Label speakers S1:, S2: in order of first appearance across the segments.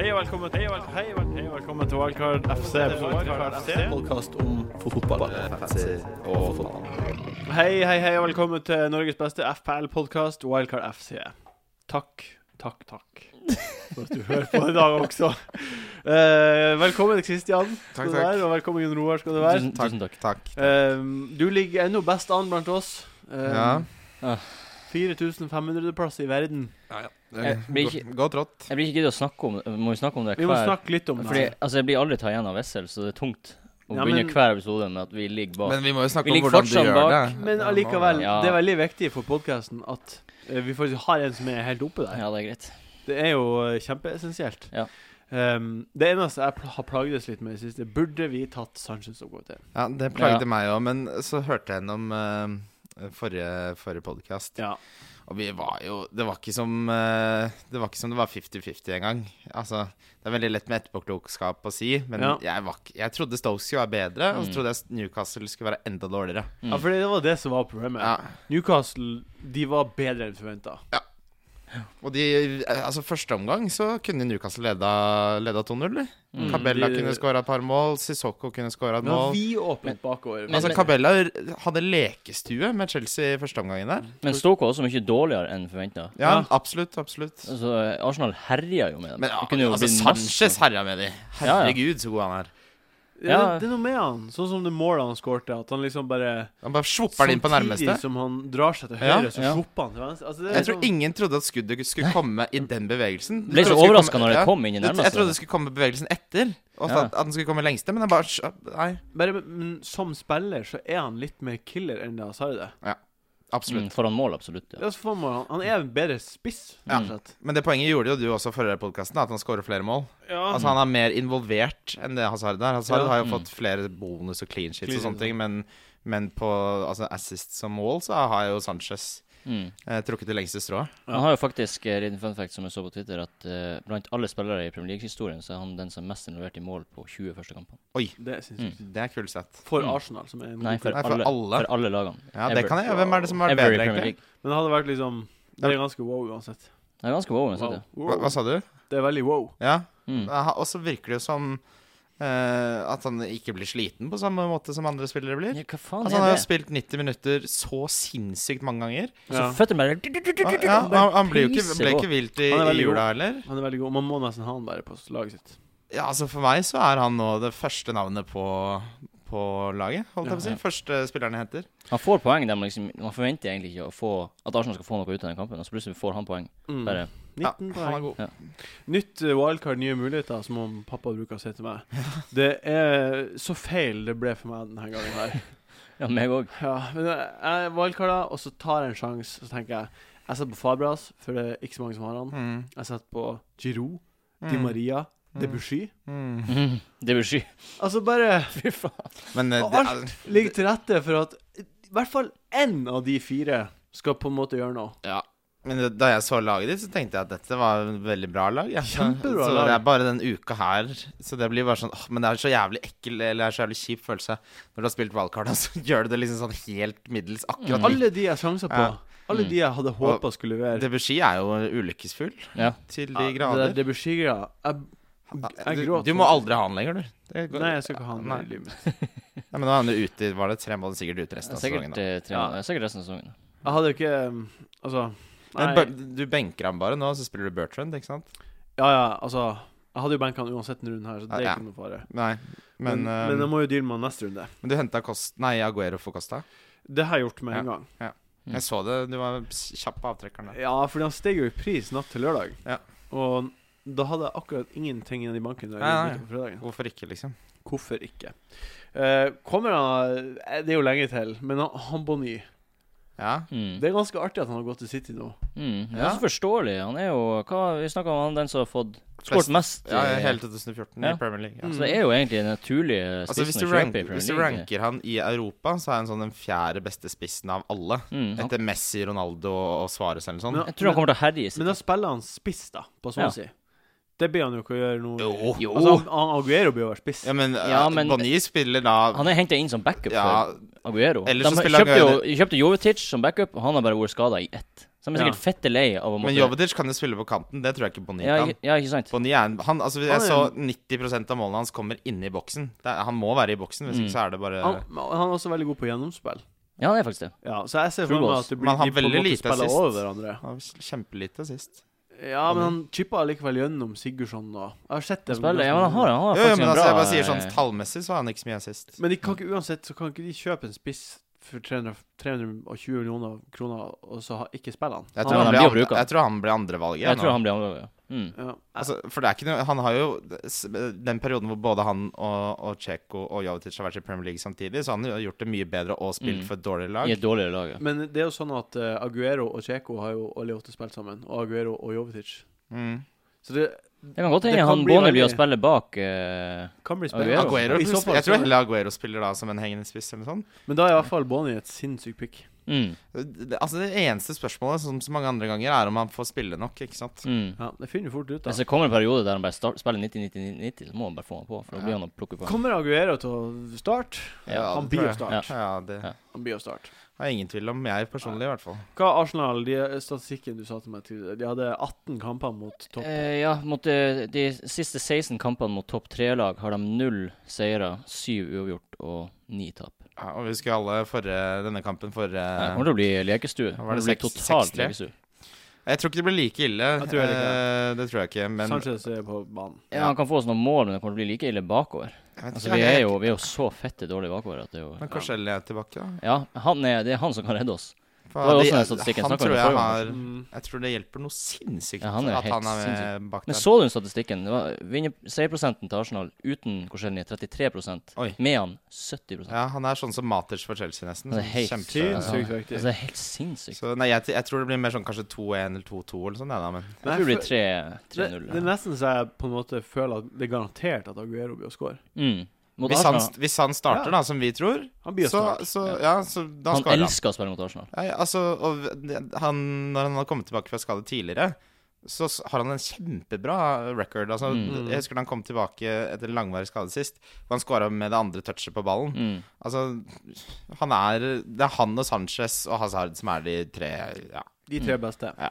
S1: Hei og velkommen til Hei og vel- hei og velkommen til Wildcard FC.
S2: Podkast om Eh, fotball.
S1: Hei, hei, hei og velkommen til Norges beste FPL-podkast, Wildcard FC. Takk, takk, takk for at du hører på i dag også. Eh, velkommen, Kristian. skal
S3: Takk,
S1: du
S3: takk.
S1: være, Og velkommen, Jon Roar, skal du være.
S3: Tusen- tusen
S2: takk.
S3: Takk.
S1: Eh, du ligger ennå best an blant oss. Eh,
S3: Ja.
S1: 4500. plass i verden.
S3: Eh,
S4: Jeg blir ikke-
S3: gå- Godt rått.
S4: Jeg blir ikke giddet å snakke om Må vi snakke om det
S1: Vi må snakke litt om det.
S4: Fordi, altså, jeg blir aldri tatt igjen av Wessel, så det er tungt å
S1: Ja,
S4: begynne
S1: men-
S4: hver episode med at vi ligger bak.
S3: Men vi må jo snakke
S4: Vi
S3: om hvordan
S4: ligger
S3: du
S4: fortsatt
S3: gjør
S4: bak,
S3: det.
S1: Men allikevel,
S4: Ja.
S1: det er veldig viktig for podkasten at eh, vi faktisk har en som er helt oppe der.
S4: ja, det er greit.
S1: Det er jo eh, kjempeessensielt.
S4: Ja.
S1: Ehm, det eneste jeg pl har plagdes litt med i det siste, burde vi tatt Sanchez og gå til?
S3: Ja, det plagde meg òg, men så hørte jeg gjennom eh, forrige, forrige podkast,
S1: Ja.
S3: og vi var jo Det var ikke som eh, det var ikke som det var 50-50 engang. Altså, det er veldig lett med etterpåklokskap å si, men
S1: Ja.
S3: jeg, var, ikke- jeg trodde Stoke skulle være bedre, og
S4: Mm.
S3: så trodde jeg Newcastle skulle være enda dårligere.
S4: Mm.
S1: ja, for det var det som var problemet.
S3: Ja.
S1: Newcastle de var bedre enn forventa.
S3: Og de, eh, altså første omgang så kunne Newcastle leda, leda 2-0. eller?
S4: Mm.
S3: Cabella
S1: De-
S3: kunne skåra et par mål, Sissoko kunne skåra et
S1: Men
S3: mål.
S1: vi åpnet bakover.
S4: Men-
S3: altså, Cabella hadde lekestue med Chelsea i første omgangen der.
S4: Men Stoke var også mye dårligere enn forventa.
S3: Ja,
S1: Ja.
S3: absolutt, absolutt.
S4: Altså, Arsenal herja jo med dem.
S3: Men
S4: Det kunne jo
S3: altså,
S4: blitt
S3: Sanchez
S4: masse-
S3: herja med de.
S4: Ja, ja.
S3: Herregud, så god han er.
S1: det,
S4: ja.
S1: det er noe med han, sånn som det målet han skårte, at han liksom bare
S3: Han bare svopper det inn på nærmeste.
S1: Samtidig som han drar seg til
S3: Ja,
S1: høyre, så
S4: ja.
S1: slipper han til venstre. Altså, det er
S3: Jeg tror
S1: liksom-
S3: ingen trodde at skuddet skulle komme i den bevegelsen. Du trodde
S4: Ble så
S3: det skulle
S4: overraska
S3: komme-
S4: når det
S3: ja.
S4: kom inn i
S3: Du- Jeg trodde
S4: nærmeste.
S3: det skulle komme bevegelsen etter, og at,
S4: Ja. Mm.
S3: at den skulle komme lengste, men jeg bare Nei,
S1: bare, men som spiller så er han litt mer killer enn det Hazard er.
S3: absolutt.
S4: Mm, foran mål, absolutt.
S1: Ja.
S4: Ja.
S1: så får man, han er en bedre spiss, rett og slett.
S3: Men det poenget gjorde jo du også forrige podkasten, at han skårer flere mål.
S1: Ja.
S3: Altså Han er mer involvert enn det Hazard er. Hazard
S1: Ja.
S3: har jo
S4: Mm.
S3: fått flere bonus og clean sheets
S1: Clean
S3: og sånne
S1: sheets,
S3: ting, men, men på altså, assist som mål så har jo Sanchez
S4: Mm.
S3: eh, trukket det lengste strået.
S4: Han har jo faktisk eh, liten fun fact som jeg så på Twitter, at eh, blant alle spillere i Premier League-historien, så er han den som er mest involvert i mål på 20 første kampene.
S1: Det er sinnssykt.
S3: Det er kult sett.
S1: For
S4: Mm.
S1: Arsenal, som er en
S4: Nei,
S1: god
S4: for,
S3: Nei, for
S4: alle,
S3: alle.
S4: for alle lagene.
S3: Ja, det
S4: Ever.
S3: kan jeg. Hvem er det som har vært
S4: Ever i
S3: bedre,
S4: Premier
S3: egentlig?
S4: League.
S1: Men det hadde vært liksom Det er ganske wow uansett.
S4: Det er ganske wow, men
S1: Wow.
S4: sånn,
S3: Hva,
S1: Wow.
S3: hva sa du?
S1: Det er veldig wow.
S3: Ja.
S4: Mm.
S3: Aha, Og så virker det jo som eh, at han ikke blir sliten på samme måte som andre spillere blir.
S4: Ja, hva faen
S3: Altså, han har
S4: er
S3: jo
S4: det?
S3: spilt 90 minutter så sinnssykt mange ganger.
S4: Og så føttene bare
S3: Ja, ja, han han ble jo ikke, ble ikke vilt i,
S1: Han er
S3: i
S1: veldig god.
S3: jula heller.
S1: Han er veldig god. Man må nesten ha han bare på laget sitt.
S3: Ja, altså For meg så er han nå det første navnet på, på laget. holdt jeg på å
S4: Ja,
S3: si.
S4: ja.
S3: Første spilleren jeg henter.
S4: Han får poeng der man liksom Man forventer egentlig ikke å få at Arsenal skal få noe ut av den kampen, og så plutselig får han poeng.
S1: Mm.
S4: Bare
S1: 19
S3: han
S1: poeng.
S3: er god.
S1: Nytt eh, wildcard, nye muligheter, som om pappa bruker å si til meg. Det er så feil det ble for meg denne gangen her.
S4: Ja, meg òg.
S1: Ja, men eh, jeg wildcarder, og så tar jeg en sjanse. Så tenker jeg Jeg setter på Fabras, for det er ikke så mange som har han.
S3: Mm.
S1: Jeg setter på Giroud,
S3: Mm.
S1: Di Maria,
S3: Mm.
S1: Debussy.
S3: Mm.
S4: Det blir sky.
S1: Altså, bare
S4: Fy faen.
S3: Men eh,
S1: Og
S3: det
S1: alt
S3: er,
S1: ligger til rette for at i hvert fall én av de fire skal på en måte gjøre noe.
S3: ja. Men eh, da jeg så laget ditt, så tenkte jeg at dette var et veldig bra lag. Ja.
S1: Kjempebra
S3: så
S1: lag.
S3: det er bare den uka her Så det blir bare sånn åh, Men det er så jævlig ekkel eller det er så jævlig kjip følelse når du har spilt valgkart, og så gjør du det liksom sånn helt middels akkurat.
S1: Alle de jeg sjanser på,
S3: Ja.
S1: alle
S4: Mm.
S1: de jeg hadde håpa skulle levere
S3: Debussy er jo ulykkesfull
S4: Ja.
S3: til
S1: Ja,
S3: de
S1: Det der
S3: grader.
S1: Debussy-greia jeg, jeg
S3: Du,
S1: gråter.
S3: du må aldri ha han lenger, du. Det går-
S1: Nei, jeg skal ikke ha han
S3: Nei.
S1: i livet mitt.
S3: Nei, men nå er han jo ute i- Var det tre måneder sikkert ute resten av sesongen?
S4: Sikkert,
S3: da.
S4: eh, tre,
S1: Ja.
S4: måneder. sikkert resten av sesongen.
S1: Jeg hadde jo ikke um, Altså
S3: Men
S1: Nei.
S3: Bur- du benker ham bare nå, så spiller du Bertrand, ikke sant?
S1: Ja, ja, altså Jeg hadde jo benka han uansett denne runden her, så det er
S3: Ja.
S1: ikke noe fare.
S3: Nei, men,
S1: Men,
S3: eh,
S1: men jeg må jo deale med han neste runde.
S3: men du henta Kost... Nei, Aguero for Costa.
S1: Det har jeg gjort med
S3: Ja.
S1: en gang.
S4: Mm.
S3: Jeg så det, du var s- kjapp på avtrekkeren der.
S1: Ja, fordi han steg jo i pris natt til lørdag.
S3: Ja.
S1: Og da hadde jeg akkurat ingenting igjen i banken. Da jeg
S3: Nei, nei.
S1: gikk ut på fredagen.
S3: Hvorfor ikke, liksom?
S1: Hvorfor ikke? Eh, kommer han eh, Det er jo lenge til, men han, han Bonny
S3: Ja.
S4: Mm.
S1: Det er ganske artig at han har gått til City nå.
S4: Mm. Det er
S3: Ja.
S4: så forståelig. Han er jo Hva Vi snakka om han den som har fått
S3: Flest-
S4: skåret mest.
S3: ja
S4: eh,
S3: Hele 2014
S4: Ja.
S3: i Premier League. Ja. Mm.
S4: Så det er jo egentlig den naturlige
S3: Altså, hvis
S4: spissen
S3: du,
S4: å
S3: rank,
S4: kjøpe i
S3: hvis du
S4: Premier League.
S3: ranker han i Europa, så er han sånn den fjerde beste spissen av alle.
S4: Mm, han,
S3: Etter Messi, Ronaldo og Svares eller noe
S1: Men-
S3: sånt.
S4: jeg tror han kommer til å herje i
S1: Men
S4: City.
S1: da spiller han spiss, da, på sånn
S4: Ja.
S1: å si. Det blir han jo ikke å gjøre nå.
S3: Jo. Jo.
S1: Altså, han, han Aguero blir jo å være spiss.
S3: Ja, men,
S4: Ja, men-
S3: Bonny spiller da
S4: Han er henta inn som backup
S3: Ja,
S4: for Aguero.
S3: Ellers så
S4: De
S3: spiller
S4: kjøpte, jo,
S3: Aguero-
S4: kjøpte Jovetic som backup, og han har bare vært skada i ett. Så de er sikkert fette lei av å måtte
S3: Men Jovetic kan jo spille på kanten. Det tror jeg ikke Boni
S4: ja,
S3: kan.
S4: ikke- ja, ikke sant?
S3: Boni er en, han, altså, jeg
S1: Han er
S3: så 90 av målene hans kommer inni boksen. Det er, han må være i boksen, hvis
S4: Mm.
S3: ikke så er det bare
S1: Han, han er også veldig god på gjennomspill.
S4: Ja, han er faktisk det.
S1: Ja, så jeg ser
S4: True
S1: for meg
S4: balls.
S1: at det
S3: Men
S1: blir
S3: han
S1: de på
S3: har
S1: en
S3: veldig
S1: måte
S3: lite
S1: spiller
S3: assist.
S1: over hverandre.
S3: Han var Kjempelite sist.
S1: Ja, men han chippa likevel gjennom Sigurdsson og Jeg har sett det.
S4: Spiller, ja, men han har, han har
S3: Jo, jo,
S4: faktisk
S3: men altså,
S4: en bra
S3: jeg bare sier sånn
S4: eh,
S3: tallmessig så er han ikke så mye sist.
S1: Men de kan ikke uansett så kan ikke de kjøpe en spiss for 300, 320 millioner kroner, og så ha, ikke spille han.
S3: Jeg
S4: Ja,
S3: tror han,
S4: men
S3: blir
S4: han blir
S3: andre,
S4: jo bruka.
S3: jeg tror han blir andrevalget.
S4: Jeg
S3: nå.
S4: tror han blir annerledes. Ja. Mm.
S1: Ja.
S3: Altså, for det er ikke noe Han har jo s- den perioden hvor både han og, og Cheko og Jovetic har vært i Premier League samtidig, så han har gjort det mye bedre og spilt
S4: Mm.
S3: for et dårligere lag.
S4: I et dårligere lag. ja.
S1: Men det er jo sånn at eh, Aguero og Cheko har jo alle åtte spilt sammen, og Aguero og Jovetic.
S3: Mm.
S1: Så det
S4: Det kan godt
S1: Det
S4: hende
S1: kan
S4: han
S1: bli
S4: Boneby å
S1: veldig-
S4: spille bak eh,
S1: kan bli
S4: Aguero.
S1: spennende.
S3: Aguero,
S1: I så fall
S3: jeg
S1: så-
S3: tror heller Aguero spiller da som en hengende spiss eller sånn. noe sånt.
S1: Men da er i hvert fall Bonnie et sinnssykt pick.
S4: mm,
S3: Det, altså, det eneste spørsmålet, som så mange andre ganger, er om han får spille nok, ikke sant.
S4: mm.
S1: Ja, det finner vi fort ut,
S4: Men
S1: da.
S4: så kommer en periode der han bare start, spiller 90-90-90, så må han bare få han på. For da blir han å plukke på.
S1: Kommer Aguero til å starte?
S3: Ja,
S1: han
S3: det
S1: blir
S3: tror
S1: jo
S3: jeg.
S1: start.
S3: Ja, det
S4: Ja.
S1: Han blir å starte.
S3: har jeg ingen tvil om. Jeg personlig, i hvert fall.
S1: Hva er Arsenal, de statistikken du sa til meg tidligere De hadde 18 kamper mot topp.
S4: Eh, ja, mot eh, de siste 16 kampene mot topp tre-lag har de null seire, syv uavgjort og ni tap.
S3: Ja, og vi husker alle forrige, denne kampen eh, forrige
S4: Det kommer til å bli lekestue. Det
S3: var
S4: kommer
S3: det
S4: til å bli
S3: seks-
S4: totalt
S3: 6-3?
S4: lekestue.
S3: Jeg tror ikke det blir like ille.
S1: Jeg tror heller
S3: Eh, det tror jeg ikke, men
S1: Sanchez er på banen.
S4: Ja, han kan få oss noen mål, men det kommer til å bli like ille bakover.
S3: Jeg vet
S4: Altså,
S3: ikke,
S4: vi er
S3: jeg-
S4: jo, vi er jo så fette dårlige bakover at det er jo
S3: Men Korsell er tilbake, da.
S4: Ja, han er, det er han som kan redde oss.
S3: For
S4: Det var jo
S3: de-
S4: også den statistikken
S3: han
S4: snakket
S3: tror
S4: om i
S3: jeg
S4: forrige
S3: har
S1: Mm.
S3: Jeg tror det hjelper noe sinnssykt
S4: Ja, han er jo
S3: at
S4: helt
S3: han er med bak
S4: Men
S3: der.
S4: så du statistikken? Det var vinner- Seierprosenten til Arsenal uten Korselny er 33
S3: Oi.
S4: med han 70
S3: Ja, han er sånn som Maters for Chelsea, nesten.
S4: Det er helt
S3: Kjempe...
S4: sykt.
S1: Sinnssykt
S4: Altså,
S1: viktig.
S4: det er helt sinnssykt.
S3: Så nei, jeg, jeg tror det blir mer sånn kanskje 2-1 eller 2-2 eller sånn, jeg, da, men
S4: Jeg tror det blir tre-
S1: Det,
S4: 3-0.
S1: det er
S4: ja.
S1: nesten så jeg på en måte føler at det er garantert at Aguero blir å score.
S4: Mm. Mot
S3: hvis han,
S4: Arsenal.
S3: hvis han starter,
S1: Ja.
S3: da, som vi tror,
S1: Han blir å
S3: så,
S1: starte.
S3: så Ja, så da
S4: Han
S3: skårer han.
S4: elsker å spille mot Arsenal.
S3: Ja, ja, altså, og det- han, når han har kommet tilbake fra skade tidligere, så s- har han en kjempebra record. Altså,
S4: Mm.
S3: Jeg husker da han kom tilbake etter langvarig skade sist, og han skåra med det andre touchet på ballen.
S4: Mm.
S3: Altså, han er Det er han og Sanchez og Hazard som er de tre Ja.
S1: De tre beste.
S3: Ja.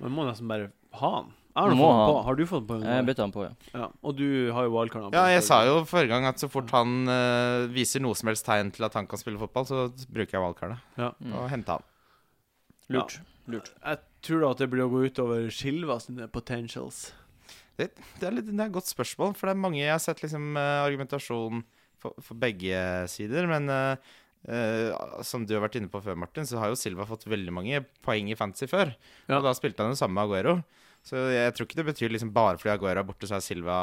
S1: Man Mm. må nesten bare ha han. Jeg har, nå fått
S4: Må ha
S1: han på.
S4: han.
S1: har du fått på
S4: Jeg
S1: den?
S4: bytter han på, ja.
S1: Ja. Og du har jo wildcard.
S3: Ja, jeg sa jo forrige gang at så fort han eh, viser noe som helst tegn til at han kan spille fotball, så bruker jeg valgkartet
S1: Ja.
S4: Mm.
S3: og henter han.
S4: Lurt. Lurt.
S1: Jeg tror da at det blir å gå utover Silva sine potentials.
S3: Det er, litt, det er et godt spørsmål, for det er mange jeg har sett liksom eh, argumentasjon for, for begge sider, men eh, eh, som du har vært inne på før, Martin, så har jo Silva fått veldig mange poeng i fantasy før.
S1: Ja.
S3: Og da spilte han jo sammen med Aguero. Så jeg tror ikke det betyr liksom bare fordi Aguero er borte, så, er Silva,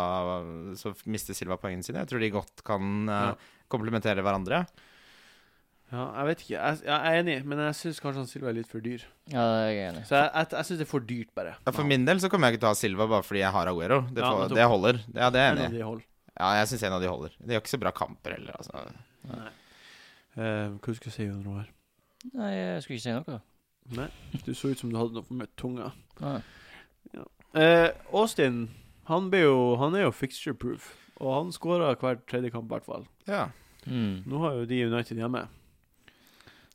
S3: så mister Silva poengene sine. Jeg tror de godt kan eh,
S1: Ja.
S3: komplementere hverandre.
S1: Ja, jeg vet ikke. Jeg, jeg er enig, men jeg syns kanskje han Silva er litt for dyr.
S4: Ja, jeg er enig.
S1: Så jeg, jeg, jeg syns det er for dyrt, bare.
S3: Ja, for min del så kommer jeg ikke til å ha Silva bare fordi jeg har Aguero. Det,
S1: Ja,
S3: får,
S1: nettopp.
S3: det holder. Ja, det er jeg
S1: En av
S3: enig i.
S1: de hold.
S3: Ja, jeg syns en av de holder. De har ikke så bra kamper heller, altså.
S1: Eh, hva skulle jeg si under her?
S4: Nei, jeg skulle ikke si noe.
S1: Nei, du så ut som du hadde noe med tunga.
S4: Nei.
S1: Eh, Austin, han, blir jo, han er jo fixture proof. Og han skårer hver tredje kamp, i hvert fall.
S3: Ja.
S4: Mm.
S1: Nå har jo de United hjemme.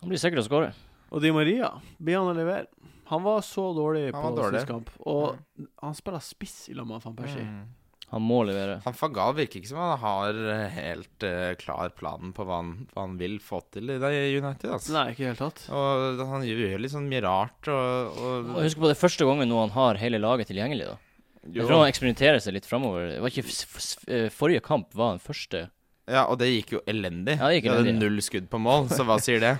S4: Han blir sikkert å skåre.
S1: Og Di Maria, blir han å levere? Han var så dårlig
S3: Han
S1: på
S3: var dårlig.
S1: sist kamp. Og han spiller spiss i lag med Van Persie.
S3: Mm.
S4: Han må levere.
S3: Han Fagal virker ikke som han har helt eh, klar planen på hva han, hva han vil få til i det United. Altså.
S1: Nei, ikke i det hele tatt.
S3: Og han gjør litt sånn mye rart og, og
S4: Og husk på det er første gangen nå han har hele laget tilgjengelig, da.
S3: Jo.
S4: Jeg tror han eksperimenterer seg litt framover. Det var ikke f f eh, forrige kamp var den første.
S3: Ja, og det gikk jo elendig.
S4: Ja, det gikk
S3: De hadde
S4: elendig.
S3: null skudd på mål, så hva sier det?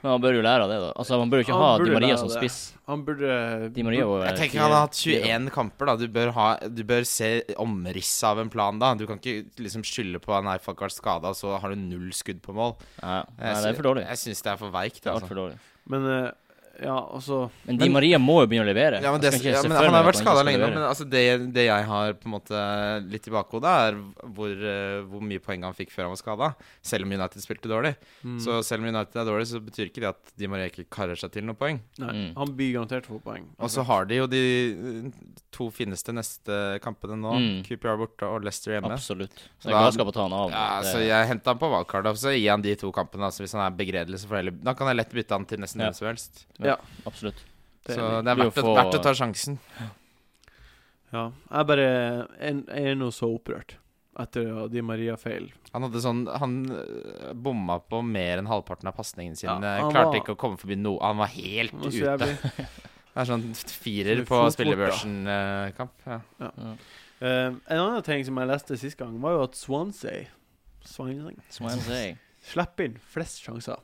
S4: Men han bør jo lære av det, da. Altså, Han bør jo ikke
S1: Han
S4: ha
S1: burde
S4: Di
S1: lære
S4: Maria
S1: av
S4: som
S1: det.
S4: spiss.
S1: Han burde
S4: Di Maria var
S3: Jeg tenker han har hatt 21 kamper, da. Du bør, ha, du bør se omrisset av en plan, da. Du kan ikke liksom skylde på Nei, fuck, vært skada, og så har du null skudd på mål.
S4: Nei,
S3: Jeg
S4: nei, det
S3: sy-
S4: er for dårlig.
S3: Jeg syns det er for veikt.
S4: Det er
S3: Altså.
S4: altfor dårlig.
S1: Men eh, ja, altså
S4: Men Di Maria må jo begynne å levere.
S3: Ja, men det,
S4: Jeg skal ikke
S3: ja,
S4: se
S3: men
S4: for
S3: han har
S4: meg at
S3: vært
S4: ikke
S3: skada
S4: skal
S3: lenge nå,
S4: levere.
S3: men altså, det, det jeg har på en måte litt i bakhodet, er hvor, eh, hvor mye poeng han fikk før han var skada. Selv om United spilte dårlig.
S1: mm,
S3: Så selv om United er dårlig, så betyr ikke det at Di Maria ikke karrer seg til noen poeng.
S1: Nei,
S4: Mm.
S1: han blir garantert få poeng.
S3: Og så har de jo de eh, to fineste neste kampene nå.
S4: Mm.
S3: QPR borte og Leicester hjemme.
S4: Absolutt.
S3: Så
S4: Så jeg
S3: da-
S4: er galskap å ta han av.
S3: Ja,
S4: Det-
S3: så jeg henta han på valgkart, og så gir han de to kampene. Altså, hvis han er begredelig, så får jeg heller Da kan jeg lett bytte han til nesten
S4: Ja.
S3: hvem som helst.
S4: Absolutt.
S1: Det er
S3: så
S1: enig.
S3: det er
S4: blir
S3: verdt,
S4: å
S3: å,
S4: få-
S3: verdt å ta sjansen.
S1: Ja. Jeg bare Jeg jeg er nå så opprørt etter å ha Di Maria-feil.
S3: Han hadde sånn Han øh, bomma på mer enn halvparten av pasningene sine.
S1: Ja, han
S3: Klarte
S1: var-
S3: ikke å komme forbi noe. Han var helt
S1: Det var så
S3: ute.
S1: jævlig.
S3: Det er sånn firer
S1: Med
S3: på
S1: fot bort,
S3: spillebørsen-kamp. ja.
S1: Eh, en annen ting som jeg leste sist gang, var jo at Swansea Swansea
S4: Som jeg sier.
S1: slipper inn flest sjanser.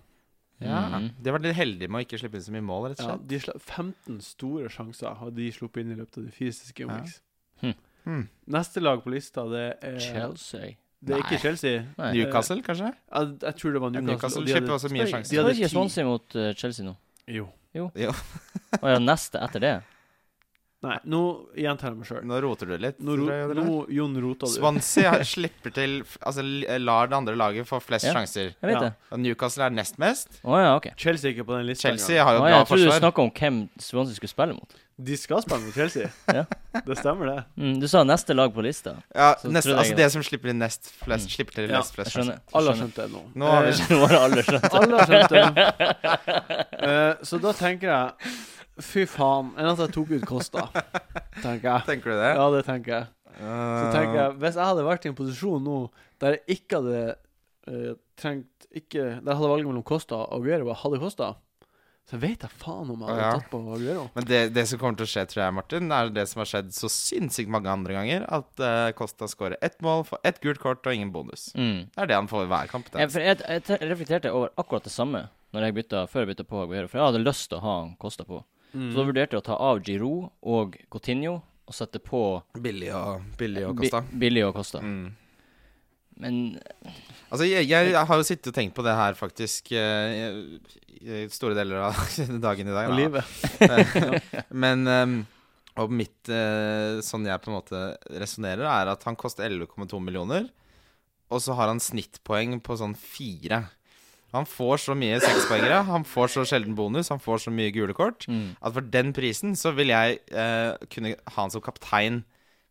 S3: ja.
S4: Mm.
S3: De var litt heldige med å ikke slippe inn så mye mål, rett og
S1: Ja,
S3: slett.
S1: de sla 15 store sjanser har de sluppet inn i løpet av de fysiske omgangene.
S3: Hmm.
S1: Neste lag på lista, det er
S4: Chelsea.
S1: Det er ikke
S3: Nei.
S1: Chelsea.
S4: Nei.
S1: New-
S3: Newcastle, kanskje?
S1: Jeg, jeg tror det var
S3: Ja,
S1: Newcastle.
S3: Newcastle
S1: og de
S3: slipper
S1: hadde-
S3: også mye
S1: de
S3: sjanser.
S4: Skal
S1: hadde
S4: det ikke
S1: ti.
S4: Swansea mot eh, Chelsea nå?
S1: Jo.
S4: Å ja, neste etter det?
S1: Nei, nå gjentar jeg meg sjøl.
S3: Nå roter du litt.
S1: Nå,
S3: tror
S1: ro-
S3: jeg, eller?
S1: nå Jon rota du.
S3: Swansea har- slipper til Altså l- lar det andre laget få flest
S4: Ja.
S3: sjanser.
S4: Jeg vet
S1: Ja.
S4: det.
S3: Og Newcastle er nest mest.
S4: Å ja, OK.
S1: Chelsea er ikke på den lista.
S3: Chelsea
S1: engang.
S3: har jo
S4: Å,
S3: et
S4: ja,
S3: bra
S4: jeg trodde du
S3: forsvar.
S4: snakka om hvem Swansea skulle spille mot.
S1: De skal spille mot Chelsea.
S4: Ja.
S1: Det stemmer, det.
S4: Mm, du sa neste lag på lista.
S3: Ja,
S4: Så
S3: nest,
S4: trodde jeg
S3: altså
S4: det.
S3: det som slipper inn nest flest,
S4: Mm.
S3: slipper til
S1: Ja,
S3: nest
S4: Jeg
S3: flest sjanser.
S4: skjønner.
S1: Alle har
S4: skjønner.
S1: skjønt det nå. Eh,
S3: Nå har vi
S4: Nå har alle skjønt.
S1: Alle har skjønt det. Eh, så da tenker jeg Fy faen. Enn at jeg tok ut Kosta, tenker jeg.
S3: Tenker du det?
S1: Ja, det tenker jeg. Så
S3: Uh,
S1: tenker jeg, Hvis jeg hadde vært i en posisjon nå der jeg ikke hadde eh, trengt ikke, Der jeg hadde valget mellom Costa og Aguero, og jeg hadde Costa, så vet jeg faen om jeg hadde
S3: Ja.
S1: tatt på Aguero.
S3: Men det, det som kommer til å skje, tror jeg, Martin, er det som har skjedd så sinnssykt mange andre ganger, at eh, Costa skårer ett mål, får ett gult kort og ingen bonus.
S4: Mm.
S3: Det er det han får i hver kamp. Det.
S4: Jeg, for jeg, jeg te- reflekterte over akkurat det samme Når jeg bytta, før jeg bytta på Aguero, for jeg hadde lyst til å ha han Kosta på.
S1: Mm.
S4: Så
S3: Mm.
S4: da vurderte jeg å ta av Giroud og Coutinho og sette på
S3: Billig og, billig og
S4: Bi-
S3: Costa.
S4: Billy og Kosta.
S3: Mm.
S4: Men
S3: Altså, jeg, jeg, har jo sittet og tenkt på det her faktisk eh, i- i store deler av dagen i dag.
S1: Og
S3: da.
S1: livet.
S3: Men ehm, og mitt eh, Sånn jeg på en måte resonnerer, er at han koster 11,2 millioner, og så har han snittpoeng på sånn fire. Han får så mye sekspoengere, han får så sjelden bonus, han får så mye gule kort,
S4: mm,
S3: at for den prisen så vil jeg eh, kunne ha han som kaptein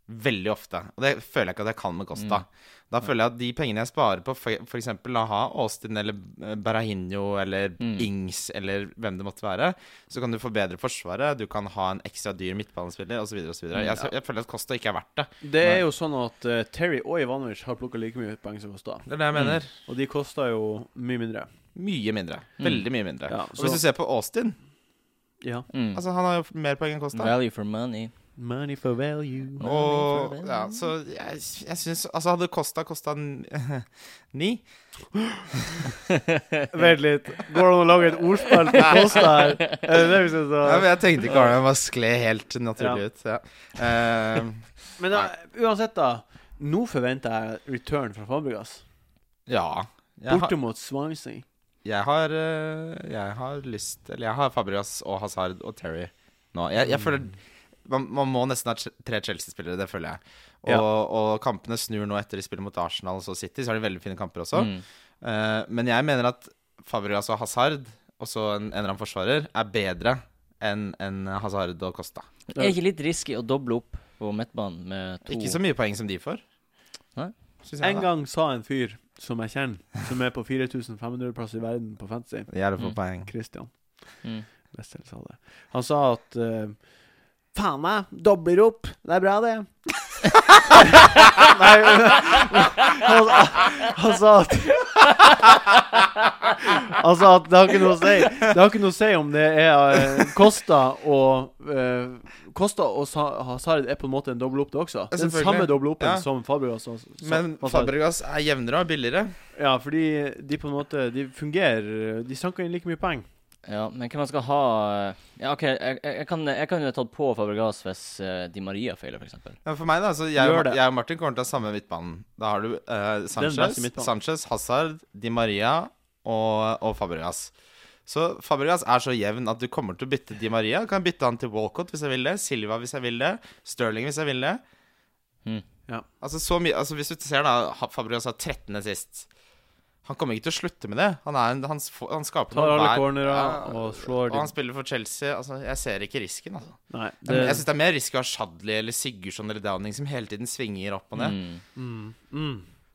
S3: veldig ofte. Og det føler jeg ikke at jeg kan med Costa.
S4: Mm.
S3: Da føler jeg at de pengene jeg sparer på f.eks. å ha Austin eller eh, Barahinho eller
S4: Mm.
S3: Ings eller hvem det måtte være, så kan du forbedre forsvaret, du kan ha en ekstra dyr midtbanespiller osv. osv.
S4: Mm,
S3: Jeg, jeg føler at Costa ikke er verdt det.
S1: Det er jo sånn at eh, Terry og Ivanovic har plukka like mye poeng som Kosta.
S3: Det er det jeg
S4: Mm.
S3: mener.
S1: Og de kosta jo mye mindre.
S3: Mye mindre.
S4: Mm.
S3: Veldig mye mindre.
S1: Ja,
S3: Og
S1: så-
S3: hvis du ser på Austin
S1: Ja.
S4: mm.
S3: altså Han har jo mer poeng enn Costa.
S4: Value for money.
S1: Money for value.
S3: Og ja, så jeg, jeg syns Altså, hadde Costa kosta ni
S1: Vent litt. Går det an å lage et ordspill på Kosta her? Er det det vi skal
S3: Ja, men
S1: ta?
S3: jeg tenkte ikke Arne var skled helt naturlig ut. Ja. Eh,
S1: Men da, uansett, da. Nå forventer jeg return fra Fabregas.
S3: ja. Jeg har,
S1: Bortimot Swansea.
S3: jeg har, eh, jeg har lyst Eller jeg har Fabregas og Hazard og Terry nå. Jeg, jeg føler
S4: Mm.
S3: man, man må nesten ha tre- tre Chelsea-spillere, det føler jeg. Og,
S1: Ja.
S3: og kampene snur nå etter de spiller mot Arsenal og så City, så har de veldig fine kamper også.
S4: Mm.
S3: Eh, men jeg mener at Fabregas og Hazard, og så en, en eller annen forsvarer, er bedre enn enn Hazard og Costa.
S4: Er det ikke litt risky å doble opp på midtbanen med to
S3: Ikke så mye poeng som de får.
S4: Nei.
S3: Synes jeg,
S1: En
S3: da.
S1: gang sa en fyr som jeg kjenner, som er på 4500 plass i verden på fantasy,
S3: Jævlig få
S4: Mm.
S3: poeng.
S1: Christian
S4: Mm.
S1: Wessel sa det. Han sa at eh, Faen meg, dobler opp. Det er bra, det. Nei han, han sa at Han sa at det har ikke noe å si. Det har ikke noe å si om det er eh, Kosta og eh, Kosta og Sa- Hazard er på en måte en dobbel opp, det også. Det er Den
S3: Selvfølgelig.
S1: samme dobbel oppen
S3: Ja.
S1: som Fabregas. og- som
S3: Men
S1: Hazard.
S3: Fabregas er jevnere og billigere.
S1: Ja, fordi de på en måte De fungerer De sanker inn like mye poeng.
S4: Ja, men hvem man skal ha eh, Ja, OK, jeg, jeg, jeg kan jeg kan jo ha tatt på Fabregas hvis eh, Di Maria feiler, for eksempel.
S3: Ja, for meg, da. Så jeg,
S1: Gjør
S3: og,
S1: det.
S3: jeg og Martin kommer til å ha samme midtbanen. Da har du eh, Sanchez,
S1: beste midtbanen.
S3: Sanchez, Hazard, Di Maria og, og Fabregas. Så Fabregas er så jevn at du kommer til å bytte Di Maria. Kan bytte han til Walcott hvis jeg vil det. Silva hvis jeg vil det. Sterling hvis jeg vil det.
S4: Mm.
S1: Ja.
S3: Altså så mye Altså Hvis du ser, da. ha- Fabregas har 13. sist. Han kommer ikke til å slutte med det. Han, er en, han, s- får- han skaper
S1: Tar
S3: noe
S1: alle
S3: hver- Ja,
S1: cornerer og slår
S3: Og han
S1: de.
S3: spiller for Chelsea. Altså, jeg ser ikke risken, altså.
S1: Nei,
S3: Men Jeg
S1: det
S3: syns det er mer risk å ha Shadley eller Sigurdsson eller Downing som hele tiden svinger opp og ned.
S4: Mm.
S1: mm, mm.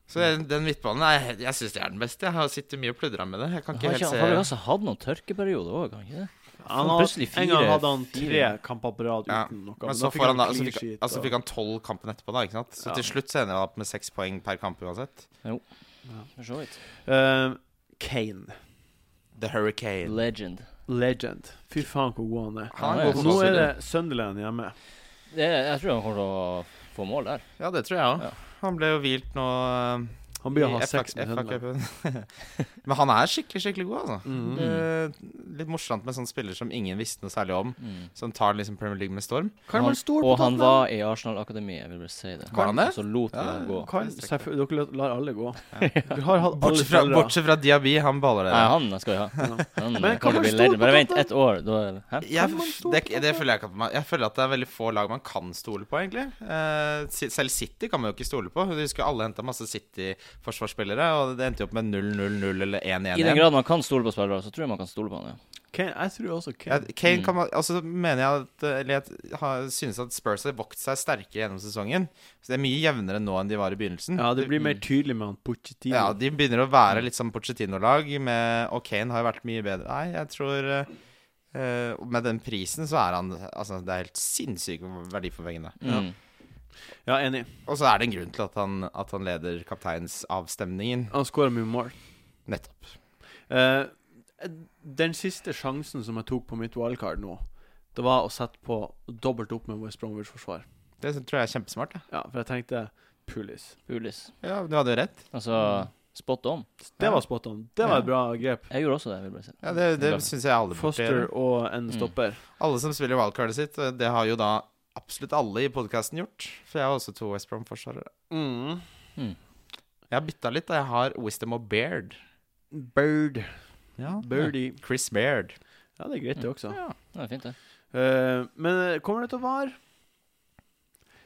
S3: Så den, den midtbanen er, helt- Jeg syns det er den beste. Jeg har sittet mye og pludra med det. Jeg kan ikke
S4: Har
S3: helt
S4: ikke,
S3: se
S4: han har vel også hatt noen tørkeperioder òg, har han ikke det?
S1: Han
S4: Faen,
S1: har,
S4: plutselig
S1: en
S4: fire-
S1: gang hadde han tre
S4: fire.
S1: kamper på rad
S3: Ja,
S1: uten noe.
S3: Men så,
S1: fikk
S3: får han, da, så,
S1: clean
S3: fikk,
S1: sheet,
S3: altså,
S1: og-
S3: fikk han tolv kampen etterpå, da. Ikke sant? Så
S1: Ja.
S3: til slutt så ender han opp med seks poeng per kamp uansett.
S4: For så vidt.
S1: Eh, Kane.
S3: The Hurricane.
S4: Legend.
S1: Legend. Fy faen, hvor god han er.
S3: Han
S4: Ja,
S1: Nå
S3: er god
S4: ja.
S1: er
S3: fotballspiller.
S1: det Sunderland hjemme.
S4: Det, jeg tror han kommer til å få mål der.
S3: Ja, det tror jeg òg.
S4: Ja.
S3: Han ble jo hvilt nå eh,
S1: Han blir å ha
S3: i FA
S1: sex med Sunderland.
S3: FA-cupen. Men han er skikkelig, skikkelig god, altså.
S1: Mhm.
S3: Eh, Litt morsomt med sånne spillere som ingen visste noe særlig om,
S4: Mm.
S3: som tar liksom Premier League med storm.
S1: Kan man stole på
S4: Og han
S1: Tottenham?
S4: var i Arsenal-akademiet, jeg vil bare si det.
S3: Var han det?
S4: Og så lot vi
S3: Ja,
S4: han gå.
S1: Kan, selvfø- dere lar- lar alle gå.
S3: Ja.
S1: Dere har hatt alle
S3: Bortsett fra,
S1: spillere.
S3: bortsett fra Diaby, han baller det.
S4: Nei, han skal vi ha.
S1: Ja.
S4: Han eh,
S1: Men kan
S4: kommer til å
S1: man
S4: bli
S1: stole
S4: legend.
S1: på
S4: Bare vent
S1: Tottenham?
S4: ett år, da er det Hæ?
S3: Jeg,
S1: Kan man stole
S3: det,
S1: på
S3: det føler jeg ikke at man Jeg føler at det er veldig få lag man kan stole på, egentlig. Eh, si- selv City kan man jo ikke stole på. Du husker alle henta masse City-forsvarsspillere, og det endte jo opp med 0-0-0 eller
S4: I den
S3: 1-1-1.
S4: grad man kan stole på spillere, så tror jeg man kan stole på han, ja.
S1: Kane, jeg tror også
S3: Ja,
S1: Kane.
S3: Kane
S4: Mm.
S3: kan man Altså mener jeg at Eller jeg har- synes at Spurs har vokst seg sterkere gjennom sesongen. Så det er mye jevnere nå enn de var i begynnelsen.
S1: Ja, det blir mer tydelig med han Pochettino.
S3: Ja, de begynner å være litt som Pochettino-lag, med- og Kane har jo vært mye bedre. Nei, jeg tror eh, eh, Med den prisen så er han Altså, det er helt sinnssyk verdi for pengene.
S4: Mm.
S1: Ja, enig.
S3: Og så er det en grunn til at han, at han leder kapteinsavstemningen.
S1: Han skårer mye mål.
S3: Nettopp.
S1: Eh, den siste sjansen som jeg tok på mitt wildcard nå, det var å sette på dobbelt opp med West Bromwich-forsvar.
S3: Det tror jeg er kjempesmart. jeg.
S1: Ja, for jeg tenkte Pulis.
S4: Pulis.
S3: Ja, du hadde jo rett.
S4: Altså spot on.
S1: Det
S3: Ja.
S1: var spot on. Det var et bra grep.
S4: Jeg gjorde også det. jeg vil bare si
S3: Ja, Det, det syns jeg alle burde
S1: Foster
S3: gjøre.
S1: og en
S4: Mm.
S1: stopper.
S3: Alle som spiller wildcardet sitt, det har jo da absolutt alle i podkasten gjort. For jeg har også to West Brom-forsvarere.
S1: Mm.
S3: Jeg har bytta litt, da. Jeg har Wisdom og Baird.
S1: Bird.
S3: Ja.
S1: Birdie.
S3: Chris Baird.
S1: Ja, det er greit, det også.
S3: Ja.
S4: Det er fint, det.
S1: Eh, men eh, kommer det til å vare?